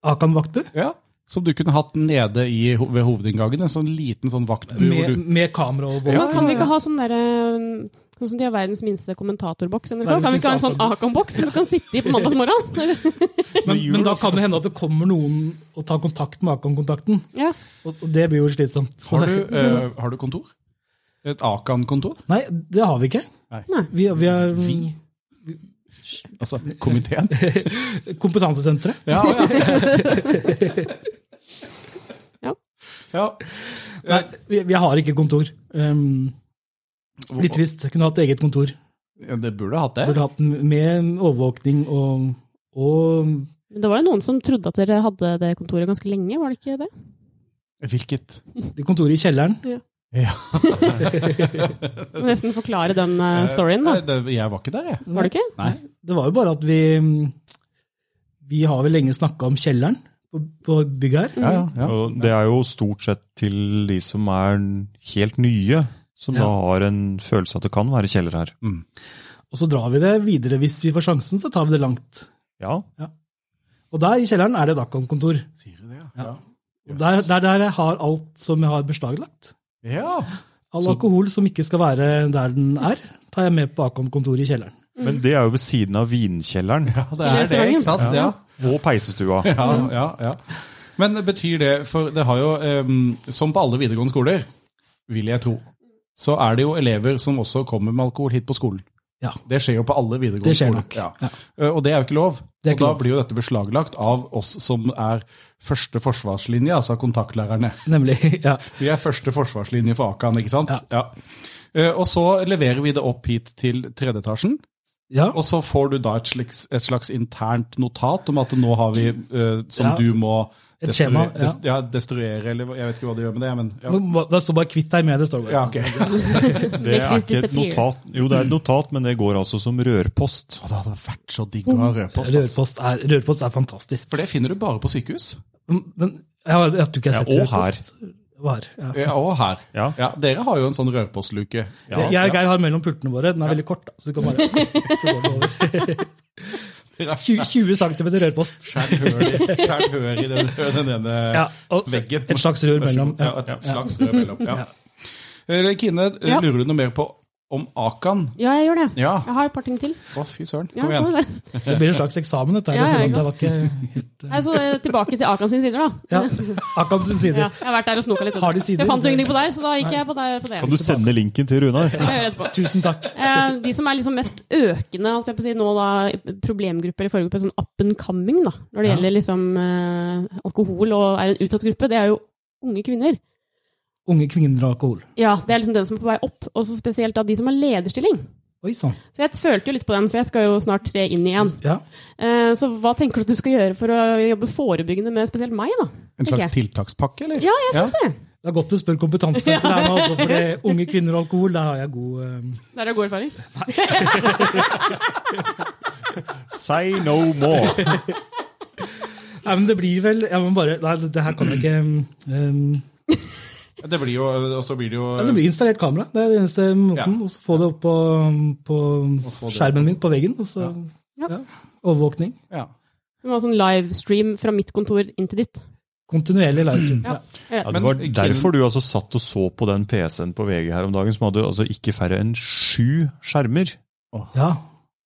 Speaker 4: Akan Vaktu,
Speaker 1: Ja. Som du kunne hatt nede i, ho- ved hovedinngangen? En sånn liten sånn vaktbu?
Speaker 4: med,
Speaker 1: Hvor du,
Speaker 4: med kamera og
Speaker 3: Men
Speaker 4: våpen.
Speaker 3: kan vi ikke ha sånn derre Sånn som de har verdens minste kommentatorboks. NRK?
Speaker 4: Verdens
Speaker 3: Kan vi ikke ha en
Speaker 4: minste
Speaker 3: sånn Akan-boks som du kan sitte i på mandagsmorgen?
Speaker 4: Men, men da kan det hende at det kommer noen og tar kontakt med Akan-kontakten.
Speaker 3: Ja.
Speaker 4: Og, og det blir jo slitsomt. Så
Speaker 1: har,
Speaker 4: det-
Speaker 1: du, eh, har du kontor? Et Akan-kontor?
Speaker 4: Nei, det har vi ikke.
Speaker 3: Nei.
Speaker 4: Vi, vi har
Speaker 1: Vi? Altså komiteen?
Speaker 4: kompetansesenteret.
Speaker 1: Ja, ja.
Speaker 3: Ja.
Speaker 1: ja.
Speaker 4: Nei, vi, vi har ikke kontor. Um, litt trist. Kunne hatt eget kontor.
Speaker 1: Ja, Det burde hatt det.
Speaker 4: Burde hatt m- med overvåkning og, og
Speaker 3: Men det var jo noen som trodde at dere hadde det kontoret ganske lenge, var det ikke det?
Speaker 1: Hvilket?
Speaker 4: det kontoret i kjelleren.
Speaker 3: Må nesten forklare den eh, storyen, da.
Speaker 1: Nei, det, jeg var ikke der, jeg.
Speaker 3: Var det ikke?
Speaker 1: Nei.
Speaker 4: Det var jo bare at vi mm, Vi har vel lenge snakka om kjelleren på, på bygget her.
Speaker 1: Ja, ja, ja.
Speaker 2: Og det er jo stort sett til de som er helt nye, som da har en følelse at det kan være kjeller her.
Speaker 4: Og så drar vi det videre. Hvis vi får sjansen, så tar vi det langt.
Speaker 2: Ja,
Speaker 4: Og der i kjelleren er det et Akon-kontor.
Speaker 1: Sier du det,
Speaker 4: Ja. Og Der, der, der jeg har alt som jeg har beslaglagt.
Speaker 1: Ja.
Speaker 4: All
Speaker 2: Så-
Speaker 4: alkohol som ikke skal være der den er, tar jeg med på Akon-kontoret i kjelleren.
Speaker 2: Men det er jo ved siden av vinkjelleren
Speaker 1: ja, det er det, ikke sant? Ja.
Speaker 2: og peisestua.
Speaker 1: Ja, ja, ja. Men betyr det, for det har jo, ehm, som på alle videregående skoler, vil jeg tro, så er det jo elever som også kommer med alkohol hit på skolen.
Speaker 4: Ja.
Speaker 1: Det skjer jo på alle videregående
Speaker 4: Det skjer
Speaker 1: skoler.
Speaker 4: nok, ja.
Speaker 1: Eh, Og det er jo ikke lov.
Speaker 4: Det er ikke
Speaker 1: og da
Speaker 4: lov.
Speaker 1: blir jo dette beslaglagt av oss som er første forsvarslinje, altså kontaktlærerne.
Speaker 4: Nemlig. Ja.
Speaker 1: Vi er første forsvarslinje for Akan, ikke sant? Ja. Eh, Og så leverer vi det opp hit til tredje etasjen,
Speaker 4: ja.
Speaker 1: og så får du da et slags, et slags internt notat om at nå har vi, eh, som
Speaker 4: Ja.
Speaker 1: du må
Speaker 4: Et skjema.
Speaker 1: Destruer-
Speaker 4: Ja.
Speaker 1: des- ja, destruere, eller hva- jeg vet ikke hva det gjør med det, men ja.
Speaker 4: Nå- Det står bare 'kvitt deg med'. det står bare.
Speaker 1: ja ok.
Speaker 2: Det er
Speaker 3: Make
Speaker 2: ikke
Speaker 3: this
Speaker 2: et
Speaker 3: disappear.
Speaker 2: notat. Jo, det er et notat, men det går altså som rørpost.
Speaker 1: Det hadde vært så digg å ha rødpost. ass.
Speaker 4: Rørpost, er, rørpost er fantastisk.
Speaker 1: For det finner du bare på sykehus.
Speaker 4: Men jeg, har- jeg tror ikke jeg har
Speaker 2: Ja,
Speaker 4: sett
Speaker 2: og
Speaker 4: rørpost. Og her. Ja.
Speaker 1: Ja, og her.
Speaker 2: Ja.
Speaker 1: dere har jo en sånn rødpostluke.
Speaker 2: Ja.
Speaker 4: jeg og Geir har mellom pultene våre. Den er veldig kort. da, så du kan bare... så går det over.
Speaker 1: Dere har
Speaker 4: 20, 20 cm rørpost.
Speaker 1: skjær hør i- skjær hør i den, den ene
Speaker 4: Ja, og
Speaker 1: veggen.
Speaker 4: et slags rør
Speaker 1: Vær så
Speaker 4: mellom.
Speaker 1: god. Ja, et slags rør mellom. Ja. Eh, Kine, eh,
Speaker 3: Ja.
Speaker 1: lurer du noe mer på om Akan?
Speaker 3: Ja, jeg gjør det.
Speaker 1: Ja,
Speaker 3: Jeg har et par ting til.
Speaker 1: å fy søren.
Speaker 3: Ja,
Speaker 1: Kom igjen.
Speaker 3: det.
Speaker 4: Det blir en slags eksamen, dette her.
Speaker 3: Ja, ja,
Speaker 4: selv om det var ikke helt...
Speaker 3: Nei, så eh, tilbake til Akan sine sider, da.
Speaker 4: Ja, Akan sin side.
Speaker 3: Ja, jeg har vært der og snoka litt.
Speaker 4: Har de sider?
Speaker 3: Jeg fant jo ingenting på deg, så da gikk jeg på deg på det.
Speaker 2: Kan du sende linken til Runar?
Speaker 3: Det skal jeg gjøre etterpå.
Speaker 4: Tusen takk.
Speaker 3: Eh, de som er liksom mest økende holdt jeg på å si, nå, da, problemgruppe eller forgruppe, sånn up and coming da, når det
Speaker 1: Ja.
Speaker 3: gjelder liksom, eh, alkohol og er en utsatt gruppe, det er jo unge kvinner.
Speaker 4: Unge kvinner og alkohol.
Speaker 3: Ja, Det er liksom den som er på vei opp, og så spesielt da de som har lederstilling.
Speaker 4: Oi sann.
Speaker 3: Så jeg følte jo litt på den, for jeg skal jo snart tre inn igjen.
Speaker 4: Ja.
Speaker 3: Eh, så hva tenker du at du skal gjøre for å jobbe forebyggende med spesielt meg, da?
Speaker 1: En slags
Speaker 3: tenker jeg.
Speaker 1: tiltakspakke, eller?
Speaker 3: Ja, jeg syns det.
Speaker 4: Det er godt du spør kompetansesenteret her nå, altså, for det unge kvinner og alkohol, der har jeg god eh,
Speaker 3: Der er god erfaring.
Speaker 2: Say no more!
Speaker 4: Nei, men det blir vel Jeg må bare Nei, det her kan jeg ikke eh,
Speaker 1: Det blir jo, og så blir det jo
Speaker 4: Ja, det blir installert kamera. Det er den eneste måten.
Speaker 1: Ja.
Speaker 4: Og så få det opp på, på
Speaker 1: få det
Speaker 4: skjermen min på veggen. Og så,
Speaker 3: Ja.
Speaker 4: ja. Overvåkning.
Speaker 1: ja.
Speaker 3: Du må ha sånn livestream fra mitt kontor inn til ditt.
Speaker 4: Kontinuerlig livestream.
Speaker 3: Ja.
Speaker 4: Ja.
Speaker 2: Ja, det var derfor du altså satt og så på den PC-en på VG her om dagen, som hadde altså ikke færre enn sju skjermer.
Speaker 4: ja.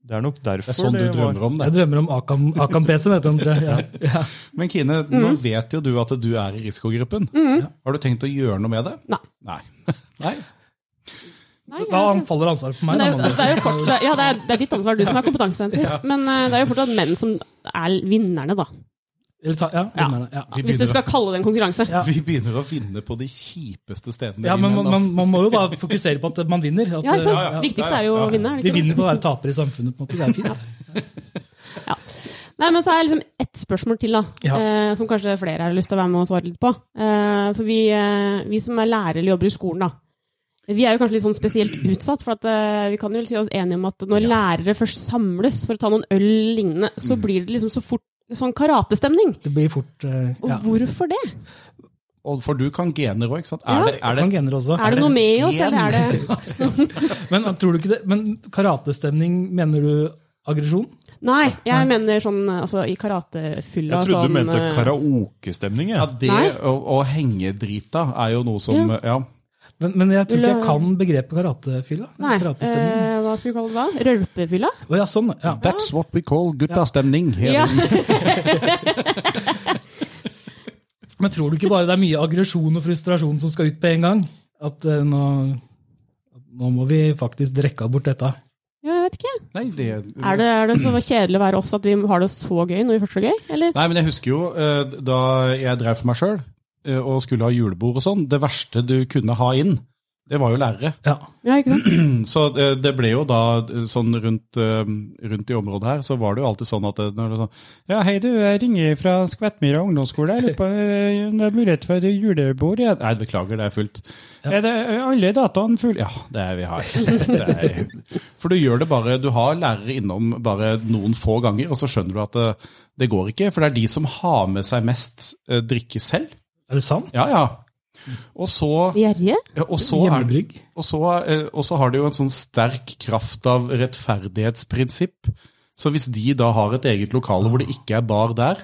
Speaker 2: Det er nok
Speaker 1: Det
Speaker 2: derfor
Speaker 1: er sånn du
Speaker 2: det var
Speaker 1: drømmer om det.
Speaker 4: Jeg drømmer om Akan- Akan-PC. vet du, om tre. Ja. Ja.
Speaker 1: Men Kine, nå
Speaker 3: Mm.
Speaker 1: vet jo du at du er i risikogruppen. Har du tenkt å gjøre noe med det?
Speaker 3: Nei.
Speaker 1: Nei. Nei.
Speaker 3: Nei, jeg-
Speaker 4: Da faller ansvaret på meg.
Speaker 3: Men
Speaker 4: Da,
Speaker 3: det, er jo- det,
Speaker 4: Amanda.
Speaker 3: er jo fortsatt, ja, det, er, det er ditt ansvar, du som er kompetansesenter. Men eh, det er jo fortsatt menn som er vinnerne, da.
Speaker 4: Eller ta, ja,
Speaker 3: Ja.
Speaker 4: vinnerne, ja.
Speaker 1: Vi
Speaker 3: Hvis du
Speaker 1: begynner,
Speaker 3: skal kalle det en konkurranse.
Speaker 4: Ja.
Speaker 1: vi begynner å vinne på de kjipeste stedene.
Speaker 4: ja,
Speaker 1: vi
Speaker 4: men
Speaker 1: menn,
Speaker 4: man, man,
Speaker 1: ass.
Speaker 4: man må jo bare fokusere på at man vinner. At,
Speaker 3: Ja, ikke sant?
Speaker 1: Ja, ja.
Speaker 3: Viktigste er jo
Speaker 1: Ja,
Speaker 3: å
Speaker 1: ja.
Speaker 3: vinne. er det
Speaker 4: Vi
Speaker 3: ikke det?
Speaker 4: vinner på å være tapere i samfunnet. på en måte. Det er fint.
Speaker 3: Nei, men så er det liksom ett spørsmål til, da.
Speaker 4: Ja.
Speaker 3: Eh, som kanskje flere har lyst til å være med og svare litt på. Eh, for vi, eh, vi som er lærere eller jobber i skolen, da. Vi er jo kanskje litt sånn spesielt utsatt, for at, eh, vi kan jo vel si oss enige om at når lærere først samles for å ta noen øl lignende, så blir det liksom så fort sånn karatestemning.
Speaker 4: Det blir fort eh,
Speaker 3: Og
Speaker 4: ja.
Speaker 3: hvorfor det?
Speaker 1: Og for du kan gener òg, ikke sant? Er
Speaker 3: Ja.
Speaker 1: det, er det,
Speaker 4: Kan gener også.
Speaker 3: Er det noe med oss,
Speaker 1: gen?
Speaker 3: eller er det
Speaker 4: Men, tror du ikke det? Men karatestemning, mener du aggresjon?
Speaker 3: Nei,
Speaker 1: Ah,
Speaker 3: jeg mener sånn altså, i karatefylla.
Speaker 2: Jeg trodde
Speaker 3: sånn,
Speaker 2: du mente
Speaker 3: eh,
Speaker 2: karaokestemning,
Speaker 1: ja,
Speaker 2: jeg.
Speaker 1: det
Speaker 3: Nei.
Speaker 1: å, å henge drita er jo noe som Ja.
Speaker 4: Men, men jeg tror ikke jeg
Speaker 3: Ulla-
Speaker 4: kan begrepet karatefylla.
Speaker 3: Nei,
Speaker 4: Karatestemning.
Speaker 3: eh, hva skulle vi kalle det da? Rølpefylla?
Speaker 4: Å ja, sånn. Ja.
Speaker 1: That's what we call guttastemning.
Speaker 3: Ja.
Speaker 4: Men tror du ikke bare det er mye aggresjon og frustrasjon som skal ut på en gang? At eh, nå, nå må vi faktisk drekke bort dette.
Speaker 3: ja, jeg vet ikke.
Speaker 1: Nei, det,
Speaker 3: Er det, er det så kjedelig å være oss at vi har det så gøy når vi først har det gøy? Eller?
Speaker 1: Nei, men jeg husker jo eh, da jeg drev for meg sjøl og skulle ha julebord og sånn, det verste du kunne ha inn, det var jo lærere.
Speaker 4: Ja.
Speaker 3: Ja, ikke sant?
Speaker 1: Så eh, det ble jo da eh, sånn rundt, eh, rundt i området her, så var det jo alltid sånn at eh, når det var sånn, Ja, hei du, jeg ringer fra Skvettmyra ungdomsskole. Jeg lurer på eh, om det er mulighet for julebord igjen. Nei, beklager, det er fullt. Er det eh, alle dataene fulle? Ja, det er vi har. Det er, for du gjør det bare Du har lærere innom bare noen få ganger, og så skjønner du at det, det går ikke. For det er de som har med seg mest eh, drikke selv.
Speaker 4: Er det sant?
Speaker 1: Ja, ja. Og så,
Speaker 3: Gjerrige?
Speaker 1: ja, og så er det
Speaker 4: Hjemmebrygg?
Speaker 1: og så, eh, og så har det jo en sånn sterk kraft av rettferdighetsprinsipp. Så hvis de da har et eget lokale hvor det ikke er bar der,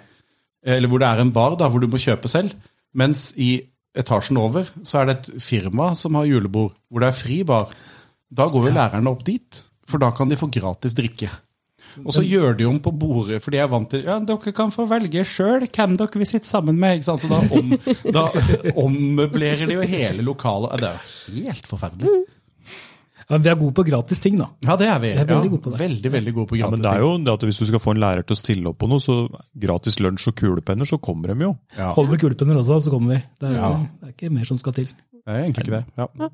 Speaker 1: eller hvor det er en bar da, hvor du må kjøpe selv, mens i etasjen over så er det et firma som har julebord, hvor det er fri bar, da går jo lærerne opp dit, for da kan de få gratis drikke. Og så gjør de om på bordet, for de er vant til ja, dere kan få velge sjøl hvem dere vil sitte sammen med. ikke sant? Så da, om, da ommøblerer de jo hele lokalet. Det er jo helt forferdelig.
Speaker 4: Ja, men vi er gode på gratis ting, da.
Speaker 1: Ja, det er vi.
Speaker 4: Jeg er veldig
Speaker 1: ja.
Speaker 4: god på Mm. det.
Speaker 1: Veldig, veldig god på
Speaker 2: Ja,
Speaker 1: gratis
Speaker 2: men det er
Speaker 1: ting.
Speaker 2: jo det at Hvis du skal få en lærer til å stille opp på noe, så gratis lunsj og kulepenner, så kommer de jo.
Speaker 1: Ja,
Speaker 4: Hold med kulepenner også, så kommer vi. Det er,
Speaker 1: Ja.
Speaker 4: det er ikke mer som skal til.
Speaker 1: det er egentlig ikke det. Ja.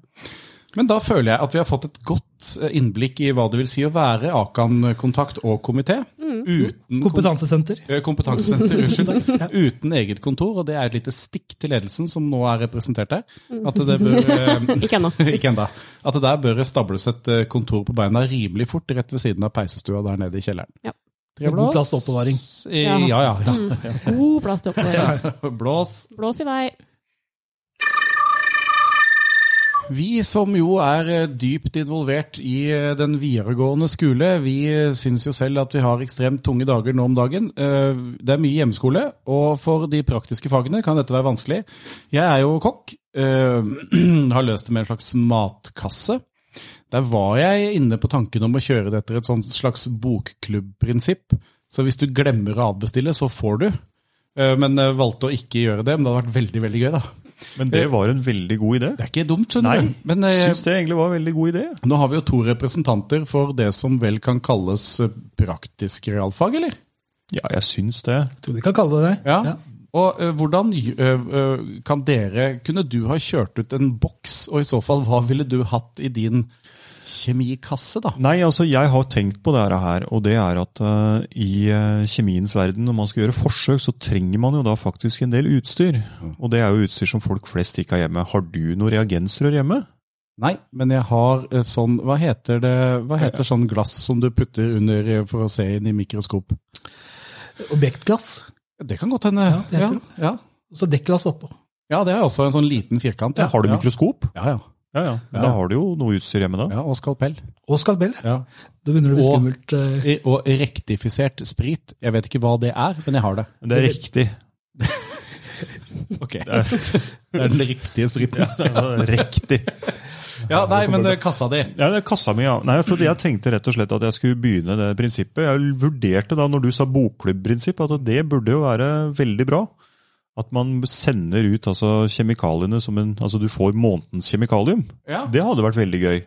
Speaker 1: Men da føler eh, jeg at vi har fått et godt innblikk i hva det vil si å være Akan-kontakt og komité.
Speaker 3: Mm.
Speaker 1: uten
Speaker 4: Kompetansesenter.
Speaker 1: Eh, Kompetansesenter, unnskyld.
Speaker 4: Ja.
Speaker 1: Uten eget kontor, og det er et lite stikk til ledelsen som nå er representert der.
Speaker 4: Mm.
Speaker 1: At det bør eh,
Speaker 3: Ikke ennå.
Speaker 1: Ikke enda. At det der bør stables et eh, kontor på beina rimelig fort, rett ved siden av peisestua der nede i kjelleren.
Speaker 3: Ja.
Speaker 1: Tre
Speaker 4: Med god
Speaker 1: blås.
Speaker 4: plass til oppbevaring.
Speaker 1: Eh, Ja, ja. ja.
Speaker 3: God plass til oppbevaring.
Speaker 1: Blås.
Speaker 3: Blås i vei.
Speaker 1: Vi som jo er eh, dypt involvert i eh, den videregående skole, vi eh, syns jo selv at vi har ekstremt tunge dager nå om dagen. Eh, Det er mye hjemmeskole, og for de praktiske fagene kan dette være vanskelig. Jeg er jo kokk, eh, har løst det med en slags matkasse. Der var jeg inne på tanken om å kjøre det etter et sånt slags bokklubbprinsipp. Så hvis du glemmer å avbestille, så får du. Eh, Men eh, valgte å ikke gjøre det. Men det hadde vært veldig, veldig gøy, da.
Speaker 2: Men det var en veldig god idé.
Speaker 1: Det er ikke dumt, skjønner
Speaker 2: Nei,
Speaker 1: du. Men, eh,
Speaker 2: syns det egentlig var en veldig god idé.
Speaker 1: nå har vi jo to representanter for det som vel kan kalles eh, praktisk realfag, eller?
Speaker 2: Ja, jeg syns det.
Speaker 4: Tror vi kan kalle det det.
Speaker 1: Ja. Og eh, hvordan eh, eh, kan dere Kunne du ha kjørt ut en boks, og i så fall, hva ville du hatt i din kjemikasse, da?
Speaker 2: Nei, altså jeg har tenkt på dette her, og det er at eh, i eh, kjemiens verden, når man skal gjøre forsøk, så trenger man jo da faktisk en del utstyr. Og det er jo utstyr som folk flest ikke har hjemme. Har du noen reagensrør hjemme?
Speaker 1: Nei, men jeg har eh, sånn Hva heter det Hva heter sånn glass som du putter under eh, for å se inn i mikroskop?
Speaker 4: Objektglass.
Speaker 1: Det kan godt hende.
Speaker 4: det
Speaker 1: Ja,
Speaker 4: heter
Speaker 1: ja.
Speaker 4: Og så dekkglass oppå.
Speaker 1: ja, det er også en sånn liten firkant. Ja.
Speaker 2: Har du
Speaker 1: ja.
Speaker 2: mikroskop?
Speaker 1: Ja, ja.
Speaker 2: Ja, ja.
Speaker 1: Ja.
Speaker 2: Da har du jo noe utstyr hjemme, da.
Speaker 1: ja, og skalpell.
Speaker 4: Og skalpell.
Speaker 1: Ja.
Speaker 4: Da begynner det å bli
Speaker 1: Og-
Speaker 4: skummelt. eh,
Speaker 1: I- Og rektifisert sprit. Jeg vet ikke hva det er, men jeg har det.
Speaker 2: Men Det er riktig.
Speaker 1: Ok. Det er den riktige spriten.
Speaker 2: Det er riktig.
Speaker 1: Ja, nei, men eh, kassa di.
Speaker 2: Ja, det er kassa mi, ja. Nei, for jeg tenkte rett og slett at jeg skulle begynne det prinsippet. Jeg vurderte da, når du sa bokklubbprinsipp, at det burde jo være veldig bra. At man sender ut altså, kjemikaliene som en Altså du får månedens kjemikalium.
Speaker 1: Ja.
Speaker 2: Det hadde vært veldig gøy.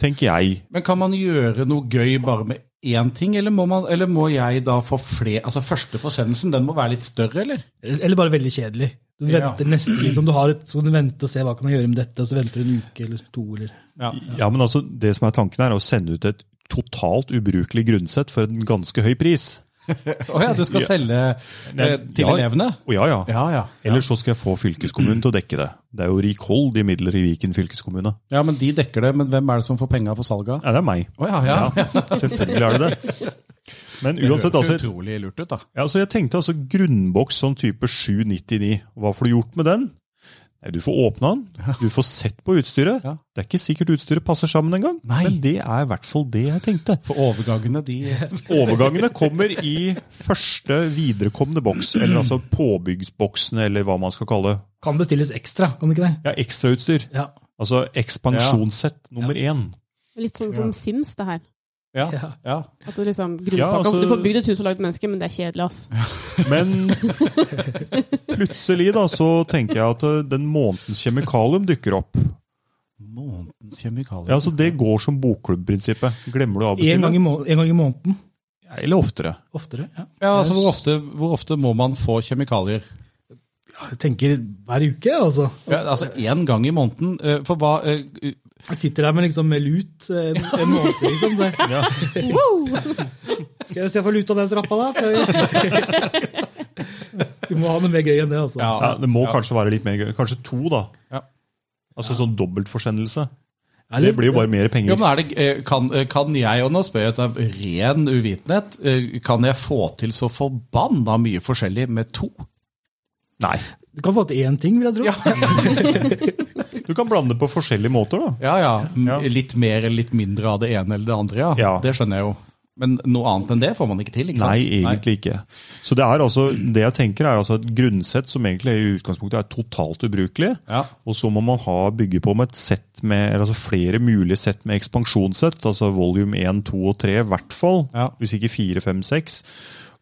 Speaker 2: Tenker jeg.
Speaker 1: Men kan man gjøre noe gøy bare med én ting, eller må, man, eller må jeg da få flere Altså første forsendelsen, den må være litt større, eller?
Speaker 4: Eller bare veldig kjedelig. Du
Speaker 1: Ja.
Speaker 4: venter neste liksom, du har et, Så kan du vente og se hva kan jeg gjøre med dette, og så venter du en uke eller to. eller...
Speaker 1: Ja.
Speaker 2: Ja, men altså, det som er tanken her, er å sende ut et totalt ubrukelig grunnsett for en ganske høy pris.
Speaker 1: Å ja, du skal
Speaker 2: Ja.
Speaker 1: selge eh, til
Speaker 2: Ja.
Speaker 1: elevene?
Speaker 2: Å ja, ja.
Speaker 1: Ja, ja.
Speaker 2: Eller så skal jeg få fylkeskommunen til å dekke det. Det er jo rikholdige midler i Viken fylkeskommune.
Speaker 1: Ja, men de dekker det, men hvem er det som får penga for salget?
Speaker 2: Nei, det er meg.
Speaker 1: Å ja, ja.
Speaker 2: Ja, selvfølgelig er det det. Men
Speaker 1: Det høres
Speaker 2: uansett, altså,
Speaker 1: utrolig lurt ut, da.
Speaker 2: ja, altså jeg tenkte altså grunnboks sånn type 799. Hva får du gjort med den? Nei, Du får åpna den, du får sett på utstyret.
Speaker 1: Ja.
Speaker 2: Det er ikke sikkert utstyret passer sammen engang,
Speaker 1: Nei.
Speaker 2: men det er i hvert fall det jeg tenkte.
Speaker 1: For overgangene, de
Speaker 2: Overgangene kommer i første viderekomne boks, eller altså påbyggsboksen, eller hva man skal kalle det.
Speaker 4: Kan bestilles ekstra, kan det ikke det?
Speaker 2: Ja, ekstrautstyr.
Speaker 4: Ja.
Speaker 2: Altså ekspansjonssett nummer én.
Speaker 3: Litt sånn som
Speaker 1: Ja.
Speaker 3: Sims, det her.
Speaker 1: Ja.
Speaker 4: Ja.
Speaker 1: ja.
Speaker 3: At du liksom
Speaker 2: Ja,
Speaker 3: grunnpakka
Speaker 2: altså-
Speaker 3: Du får bygd et hus og lagd mennesker, men det er kjedelig, ass.
Speaker 2: Men plutselig da, så tenker jeg at eh, den månedens kjemikalium dukker opp.
Speaker 1: Månedens kjemikalier.
Speaker 2: Ja, altså Det går som bokklubbprinsippet. Glemmer du å
Speaker 4: En, gang
Speaker 2: avbestille?
Speaker 4: i må en gang i måneden.
Speaker 2: Eller oftere.
Speaker 4: Oftere. ja.
Speaker 1: Ja, altså hvor ofte, hvor ofte må man få kjemikalier?
Speaker 4: Ja, Jeg tenker hver uke, altså.
Speaker 1: Ja, altså én gang i måneden. eh, For hva eh,
Speaker 4: Jeg sitter der med, liksom, med lut eh, en, en måned, liksom. Så.
Speaker 2: Ja.
Speaker 3: Wow!
Speaker 4: Skal jeg se for luta den trappa, da? Skal vi... vi må ha noe mer gøy enn det, altså.
Speaker 2: Ja, det må
Speaker 1: Ja.
Speaker 2: kanskje være litt mer gøy. Kanskje to, da.
Speaker 1: Ja.
Speaker 2: Altså sånn dobbeltforsendelse.
Speaker 4: Eller-
Speaker 2: Det blir jo bare mer
Speaker 1: Jo, men
Speaker 2: penger.
Speaker 1: er det, eh, kan, eh, kan jeg, og nå spør jeg ut av ren uvitenhet, eh, kan jeg få til så forbanna mye forskjellig med to?
Speaker 2: Nei.
Speaker 4: Du kan få til én ting, vil jeg tro.
Speaker 2: Du kan blande det på forskjellige måter, da.
Speaker 1: Ja ja, m-
Speaker 2: Ja.
Speaker 1: litt mer eller litt mindre av det ene eller det andre, ja.
Speaker 2: Ja.
Speaker 1: Det skjønner jeg jo. Men noe annet enn det får man ikke til, ikke sant?
Speaker 2: Nei, egentlig ikke. Så det er altså, det jeg tenker er altså et grunnsett som egentlig i utgangspunktet er totalt ubrukelig.
Speaker 1: Ja.
Speaker 2: Og så må man ha, bygge på med et sett med, eller altså flere mulige sett med ekspansjonssett. Altså volume 1, 2 og 3 i hvert fall.
Speaker 1: Ja.
Speaker 2: Hvis ikke 4, 5, 6.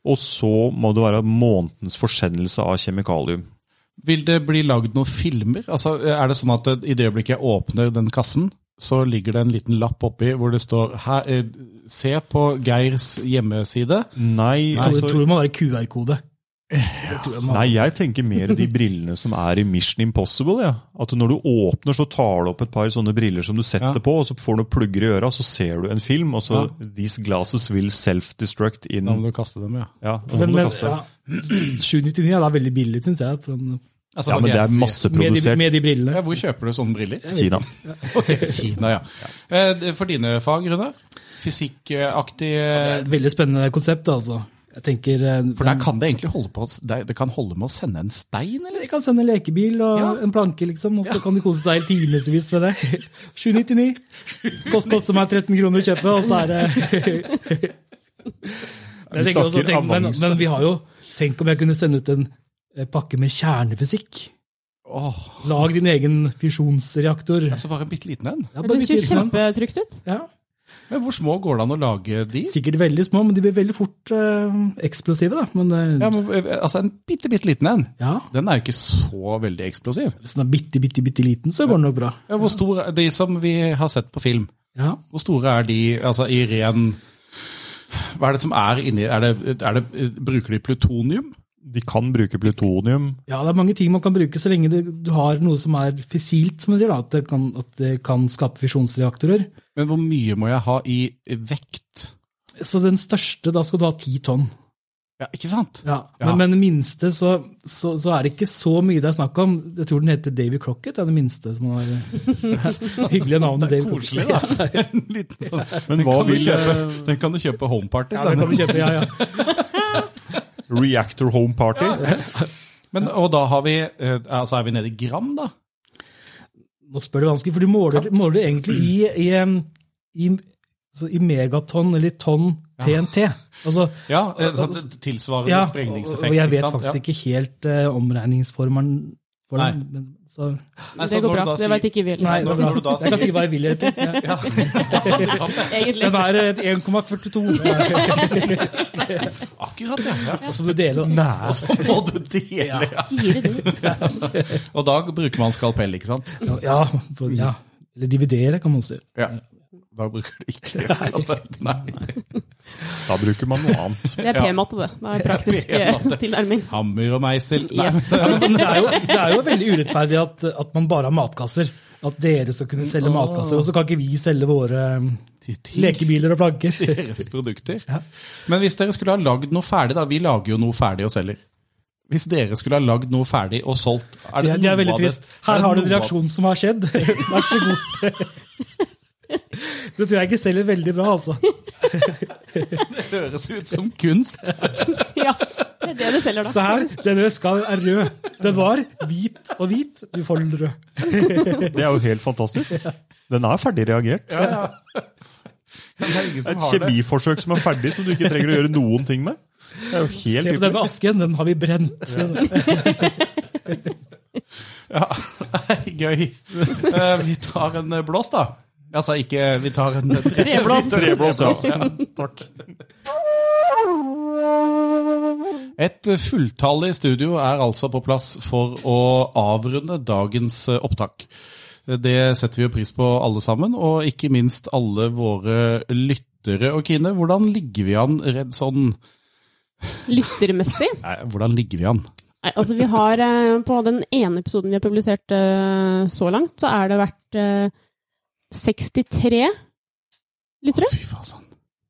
Speaker 2: Og så må det være månedens forsendelse av kjemikalium.
Speaker 1: Vil det bli lagd noen filmer? Altså, er det sånn at eh, i det øyeblikket jeg åpner den kassen, så ligger det en liten lapp oppi hvor det står her, eh, Se på Geirs hjemmeside.
Speaker 2: Nei,
Speaker 4: Jeg tror,
Speaker 2: altså
Speaker 4: tror det må være QR-kode. Det tror jeg man-
Speaker 2: Nei, jeg tenker mer de brillene som er i Mission Impossible. Ja. At når du åpner, så tar du opp et par sånne briller som du setter
Speaker 1: Ja.
Speaker 2: på, og så får du noen plugger i øra, så ser du en film, og så These glasses will self-destruct in
Speaker 1: Da må du kaste dem, ja.
Speaker 2: Ja, og
Speaker 4: Men,
Speaker 2: men,
Speaker 4: men,
Speaker 2: kaste.
Speaker 4: ja. 799 er da veldig billig, syns jeg. For en,
Speaker 1: Altså,
Speaker 2: ja, men
Speaker 1: ok,
Speaker 2: det er
Speaker 4: med, de,
Speaker 2: masseprodusert.
Speaker 4: med de brillene.
Speaker 1: ja, Hvor kjøper du sånne briller?
Speaker 2: Kina.
Speaker 1: Ok, Kina, ja. Eh, det- For dine fag, Runar? Fysikkaktig
Speaker 4: Det er
Speaker 1: eh,
Speaker 4: et veldig spennende konsept, altså. Jeg tenker eh,
Speaker 1: For der kan det egentlig holde på å s- Det det kan holde med å sende en stein, eller?
Speaker 4: de kan sende en lekebil og
Speaker 1: Ja.
Speaker 4: en planke, liksom, og så kan de kose seg i timevis med det. 799. Kost, koster meg 13 kroner å kjøpe, og så er det Men jeg
Speaker 2: Vi
Speaker 4: tenker også,
Speaker 2: snakker
Speaker 4: tenk, men,
Speaker 2: avanse.
Speaker 4: men vi har jo Tenk om jeg kunne sende ut en eh, pakke med kjernefysikk.
Speaker 1: Åh,
Speaker 4: Lag din egen fusjonsreaktor.
Speaker 1: altså bare en bitte liten en.
Speaker 4: Ja, bare
Speaker 3: Det
Speaker 4: bytte
Speaker 3: ser
Speaker 4: ut den.
Speaker 3: kjempetrygt ut.
Speaker 4: Ja.
Speaker 1: Men hvor små går det an å lage de?
Speaker 4: Sikkert veldig små, men de blir veldig fort eh, eksplosive. da. Men, eh,
Speaker 1: Ja, men, eh, altså En bitte, bitte liten en.
Speaker 4: ja,
Speaker 1: Den er jo ikke så veldig eksplosiv.
Speaker 4: Hvis den er bitte, bitte, bitte liten, så går den nok bra.
Speaker 1: Ja, hvor store er De som vi har sett på film,
Speaker 4: Ja.
Speaker 1: hvor store er de altså, i ren Hva er det som er inni er det, er det, Bruker de plutonium?
Speaker 2: De kan bruke plutonium.
Speaker 4: ja, det er mange ting man kan bruke så lenge det, du har noe som er fissilt, som man sier, da, at, det kan, at det kan skape fisjonsreaktorer.
Speaker 1: Men hvor mye må jeg ha i vekt?
Speaker 4: Så den største, da skal du ha ti tonn.
Speaker 1: Ja, ikke sant?
Speaker 4: Ja.
Speaker 1: Ja.
Speaker 4: Men, men den minste, så, så, så er det ikke så mye det er snakk om. Jeg tror den heter Davy Crocket, det er den minste som har hyggelige navnet. Davy Crockett.
Speaker 1: Koselig, da. En liten sånn.
Speaker 2: Men hva
Speaker 1: kan du
Speaker 2: vil eh,
Speaker 1: Den kan du kjøpe home parties.
Speaker 4: Ja, den kan du
Speaker 1: den.
Speaker 4: kjøpe, ja, ja.
Speaker 2: Reactor Home Party?
Speaker 1: Men, og da har vi, eh, altså er vi nede i gram, da?
Speaker 4: Nå spør du vanskelig, for du måler, måler du egentlig i, i, em, i, så i megatonn eller tonn TNT. Altså,
Speaker 1: Ja, eh, sånn tilsvarende
Speaker 4: ja, og,
Speaker 1: sprengningseffekt.
Speaker 4: og jeg
Speaker 1: ikke
Speaker 4: vet
Speaker 1: sant?
Speaker 4: faktisk
Speaker 1: Ja.
Speaker 4: ikke helt eh, omregningsformelen for
Speaker 1: Nei.
Speaker 4: den. Men, så,
Speaker 1: Nei, så
Speaker 3: det går
Speaker 1: når du
Speaker 3: bra.
Speaker 1: da
Speaker 3: Det
Speaker 1: sier-
Speaker 3: veit ikke vi
Speaker 4: nei,
Speaker 1: når-
Speaker 3: heller.
Speaker 4: det er bra.
Speaker 1: når du da
Speaker 4: jeg kan
Speaker 1: sier-
Speaker 4: si hva jeg vil. egentlig. Ja.
Speaker 3: Egentlig.
Speaker 4: Den er eh, 1,42,
Speaker 1: Akkurat, ja. ja.
Speaker 4: og så må du dele. da.
Speaker 1: Og så må du dele. Ja.
Speaker 3: Fire du.
Speaker 1: Og da bruker man skalpell, ikke sant?
Speaker 4: Ja, for, ja. Eller dividere, kan man også gjøre.
Speaker 1: Ja. Da bruker du ikke skalpell. Nei.
Speaker 2: Da bruker man noe annet.
Speaker 3: Det er p-matte, det. Det er praktisk eh,
Speaker 1: P-matte.
Speaker 3: tilnærming.
Speaker 1: Hammer og meisel. Nei.
Speaker 3: Yes.
Speaker 4: Men det, er jo, det er jo veldig urettferdig at, at man bare har matkasser. At dere skal kunne selge matkasser, og så kan ikke vi selge våre em, lekebiler og planker.
Speaker 1: Deres produkter. Men hvis dere skulle ha lagd noe ferdig, da. Vi lager jo noe ferdig og selger. Hvis dere skulle ha lagd noe ferdig og solgt er
Speaker 4: Det, det
Speaker 1: noe
Speaker 4: er
Speaker 1: av
Speaker 4: veldig
Speaker 1: er
Speaker 4: trist. Her
Speaker 1: det
Speaker 4: har du en
Speaker 1: noe av-
Speaker 4: reaksjon som har skjedd. Vær så god. Det tror jeg ikke selger veldig bra, altså.
Speaker 1: Det høres ut som kunst.
Speaker 3: Ja, det er det du selger
Speaker 4: Se
Speaker 3: da.
Speaker 4: her, denne veska er rød. Den var hvit og hvit. Du får den rød.
Speaker 2: Det er jo helt fantastisk. Den er ferdig reagert.
Speaker 1: Men det er ingen som
Speaker 2: Et
Speaker 1: har det.
Speaker 2: kjemiforsøk som er ferdig, som du ikke trenger å gjøre noen ting med. Det er jo
Speaker 4: Se
Speaker 2: helt
Speaker 4: på denne asken, den har vi brent.
Speaker 1: Ja. Gøy. Eh, Vi tar en eh, blås, da. Altså ikke Vi tar en eh, tre.
Speaker 3: Treblås.
Speaker 2: Treblås, ja.
Speaker 1: Takk. Et fulltallig studio er altså på plass for å avrunde dagens eh, opptak. Det setter vi jo pris på alle sammen, og ikke minst alle våre lyttere. Og Kine, hvordan ligger vi an redd sånn
Speaker 3: Lyttermessig.
Speaker 1: Nei, hvordan ligger vi an?
Speaker 3: Nei, altså vi har eh, På den ene episoden vi har publisert eh, så langt, så er det vært eh, 63 lyttere.
Speaker 1: Fy faen. sånn.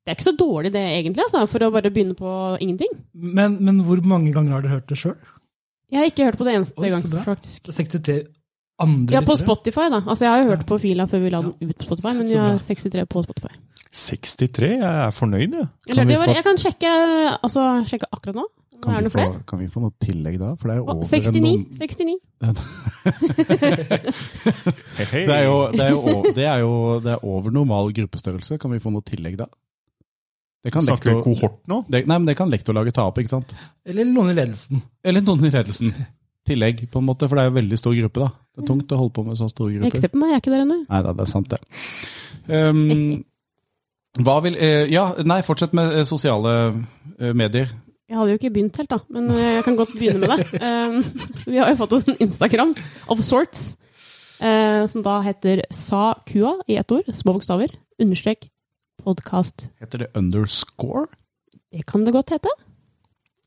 Speaker 3: Det er ikke så dårlig det, egentlig, altså, for å bare begynne på ingenting.
Speaker 4: Men, men hvor mange ganger har dere hørt det sjøl?
Speaker 3: Jeg har ikke hørt på det eneste
Speaker 4: Oi, så
Speaker 3: gang,
Speaker 4: bra.
Speaker 3: faktisk.
Speaker 4: 63 andre
Speaker 3: Ja, på
Speaker 4: lyttere?
Speaker 3: Spotify, da. Altså, jeg har jo hørt på fila før vi la den ut på Spotify, men
Speaker 4: Så
Speaker 3: vi har
Speaker 4: bra.
Speaker 3: 63 på Spotify.
Speaker 2: 63, jeg er fornøyd, jeg.
Speaker 3: Eller,
Speaker 2: Kan vi
Speaker 3: det var,
Speaker 2: få-
Speaker 3: jeg kan sjekke, altså, sjekke akkurat nå. Nå er det noe flere.
Speaker 1: kan vi få noe tillegg da? For det er
Speaker 3: Å, 69. 69.
Speaker 2: Hei, hei.
Speaker 1: Det er jo, det er jo, o- det er jo det er over normal gruppestørrelse. Kan vi få noe tillegg da? Det kan
Speaker 2: Snakker vi
Speaker 1: Lektor-
Speaker 2: kohort nå?
Speaker 1: det, nei, men det kan lektorlaget ta opp, ikke sant?
Speaker 4: Eller noen i ledelsen.
Speaker 1: Eller noen i ledelsen. Tillegg, på en måte, for det er jo veldig stor gruppe, da. Det er tungt å holde på med sånn stor
Speaker 3: Ikke
Speaker 1: gruppe.
Speaker 3: se på meg, jeg er ikke der ennå.
Speaker 1: Nei da, det er sant, det. Ehm, hva vil eh, Ja, nei, fortsett med eh, sosiale eh, medier.
Speaker 3: Jeg hadde jo ikke begynt helt, da, men eh, jeg kan godt begynne med det. Um, vi har jo fått oss en Instagram of sorts, eh, som da heter sakua i ett ord, små bokstaver, understrek podkast.
Speaker 1: Heter det underscore
Speaker 3: Det kan det godt hete.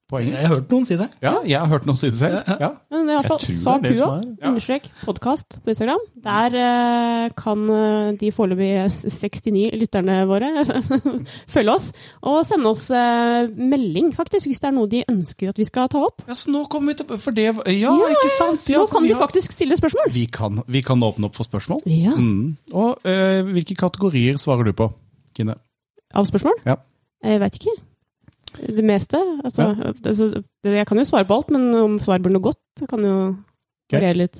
Speaker 1: på
Speaker 4: Jeg har
Speaker 1: engelsk.
Speaker 4: hørt noen si det.
Speaker 1: Ja, jeg har hørt noen si det selv. Ja.
Speaker 3: Men det er i hvert fall
Speaker 2: Jeg
Speaker 3: sa
Speaker 2: tror det er det
Speaker 3: kua.
Speaker 2: som er.
Speaker 1: Ja.
Speaker 3: Understrek podkast på Instagram. Der eh, kan eh, de foreløpig 69 lytterne våre følge oss. Og sende oss eh, melding, faktisk, hvis det er noe de ønsker at vi skal ta opp.
Speaker 1: Ja, så nå kommer vi til For det var- Ja,
Speaker 3: Ja,
Speaker 1: ikke sant? Ja,
Speaker 3: Nå
Speaker 1: for
Speaker 3: kan
Speaker 1: vi
Speaker 3: de
Speaker 1: har-
Speaker 3: faktisk stille spørsmål!
Speaker 1: Vi kan, vi kan åpne opp for spørsmål.
Speaker 3: Ja,
Speaker 1: Mm. Og eh, hvilke kategorier svarer du på, Kine?
Speaker 3: Av spørsmål?
Speaker 1: Ja.
Speaker 3: Jeg veit ikke. Det meste. Altså, altså, det- jeg kan jo svare på alt, men om svaret blir noe godt, kan jo
Speaker 1: Greit.
Speaker 3: variere litt.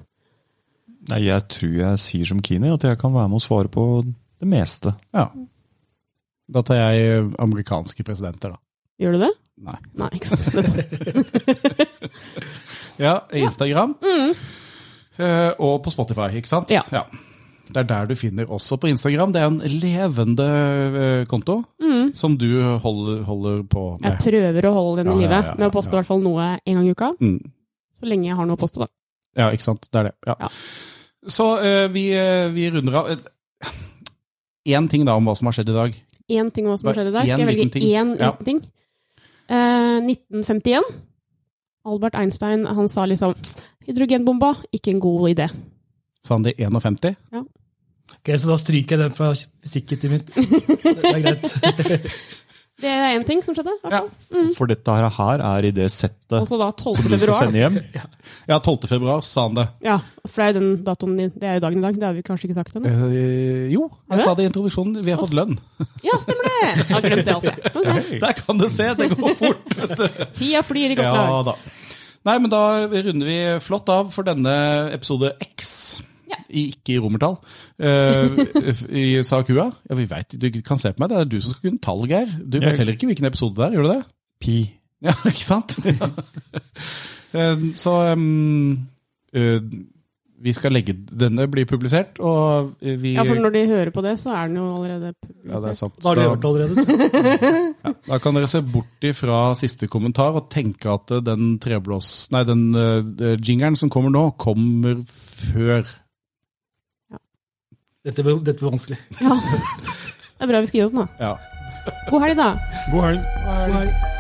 Speaker 2: Nei, jeg tror jeg sier som Kine, at jeg kan være med og svare på det meste.
Speaker 1: Ja. Da tar jeg eh, amerikanske presidenter, da.
Speaker 3: Gjør du det?
Speaker 1: Nei.
Speaker 3: Nei, ikke sant. Nettopp.
Speaker 1: Ja, Instagram.
Speaker 3: Mm,
Speaker 1: Eh, og på Spotify, ikke sant?
Speaker 3: Ja.
Speaker 1: Det er der du finner også på Instagram. Det er en levende eh, konto
Speaker 3: Mm.
Speaker 1: som du holder, holder på
Speaker 3: Jeg
Speaker 1: med.
Speaker 3: prøver å holde den i
Speaker 1: Ja, ja,
Speaker 3: live
Speaker 1: ja, ja,
Speaker 3: med å poste i
Speaker 1: ja.
Speaker 3: hvert fall noe en gang i uka.
Speaker 1: Mm.
Speaker 3: Så lenge jeg har noe å poste, da.
Speaker 1: Ja, ikke sant. Det er det. Ja.
Speaker 3: Ja.
Speaker 1: Så eh, vi, eh, vi runder av. Én ting da om hva som har skjedd i dag.
Speaker 3: Én ting hva som har skjedd i dag.
Speaker 1: Bare
Speaker 3: Skal jeg
Speaker 1: én liten
Speaker 3: velge
Speaker 1: ting.
Speaker 3: én
Speaker 1: Ja.
Speaker 3: liten ting? Eh, 1951. Albert Einstein han sa liksom 'Hydrogenbomba, ikke en god idé'.
Speaker 1: Sandi 51.
Speaker 4: Ok, Så da stryker jeg den fra fysikkittet mitt. Det er greit.
Speaker 3: Det er én ting som skjedde. i hvert fall.
Speaker 2: For dette her- her er i det settet
Speaker 3: Også da 12.
Speaker 2: som du skal
Speaker 3: februar.
Speaker 2: sende hjem.
Speaker 1: Ja, 12. februar sa han det.
Speaker 3: Ja, for det er jo den datoen din. Det er jo dagen i dag. Det har vi kanskje ikke sagt ennå.
Speaker 1: Eh, jo,
Speaker 3: Er
Speaker 1: jeg
Speaker 3: det?
Speaker 1: sa det i introduksjonen. Vi har fått lønn.
Speaker 3: Ja, stemmer det! Jeg har glemt det alt, jeg. Sånn, sånn.
Speaker 1: Der kan du se, det går fort!
Speaker 3: Tida flyr i godt
Speaker 1: Ja
Speaker 3: lag.
Speaker 1: da. Nei, men da runder vi flott av for denne episode X.
Speaker 3: Ja.
Speaker 1: I, ikke i romertall. Eh, I Sakua. Ja, vi vet, Du kan se på meg, det er du som skal kunne tall, Geir. Du vet
Speaker 2: Jeg-
Speaker 1: heller ikke hvilken episode det er, gjør du det?
Speaker 2: Pi.
Speaker 1: Ja, ikke sant? Ja. Eh, Så um, eh, vi skal legge Denne blir publisert, og eh, vi
Speaker 3: Ja, for når de hører på det, så er den jo allerede
Speaker 1: Ja, det er sant.
Speaker 4: Da har de hørt det allerede.
Speaker 1: Da kan dere se bort ifra siste kommentar og tenke at eh, den treblås... Nei, den eh, jingeren som kommer nå, kommer før.
Speaker 4: Dette blir, dette blir vanskelig.
Speaker 3: Ja. Det er bra vi skal gi oss nå.
Speaker 1: Ja.
Speaker 3: God helg, da.
Speaker 2: God helg.
Speaker 4: God helg.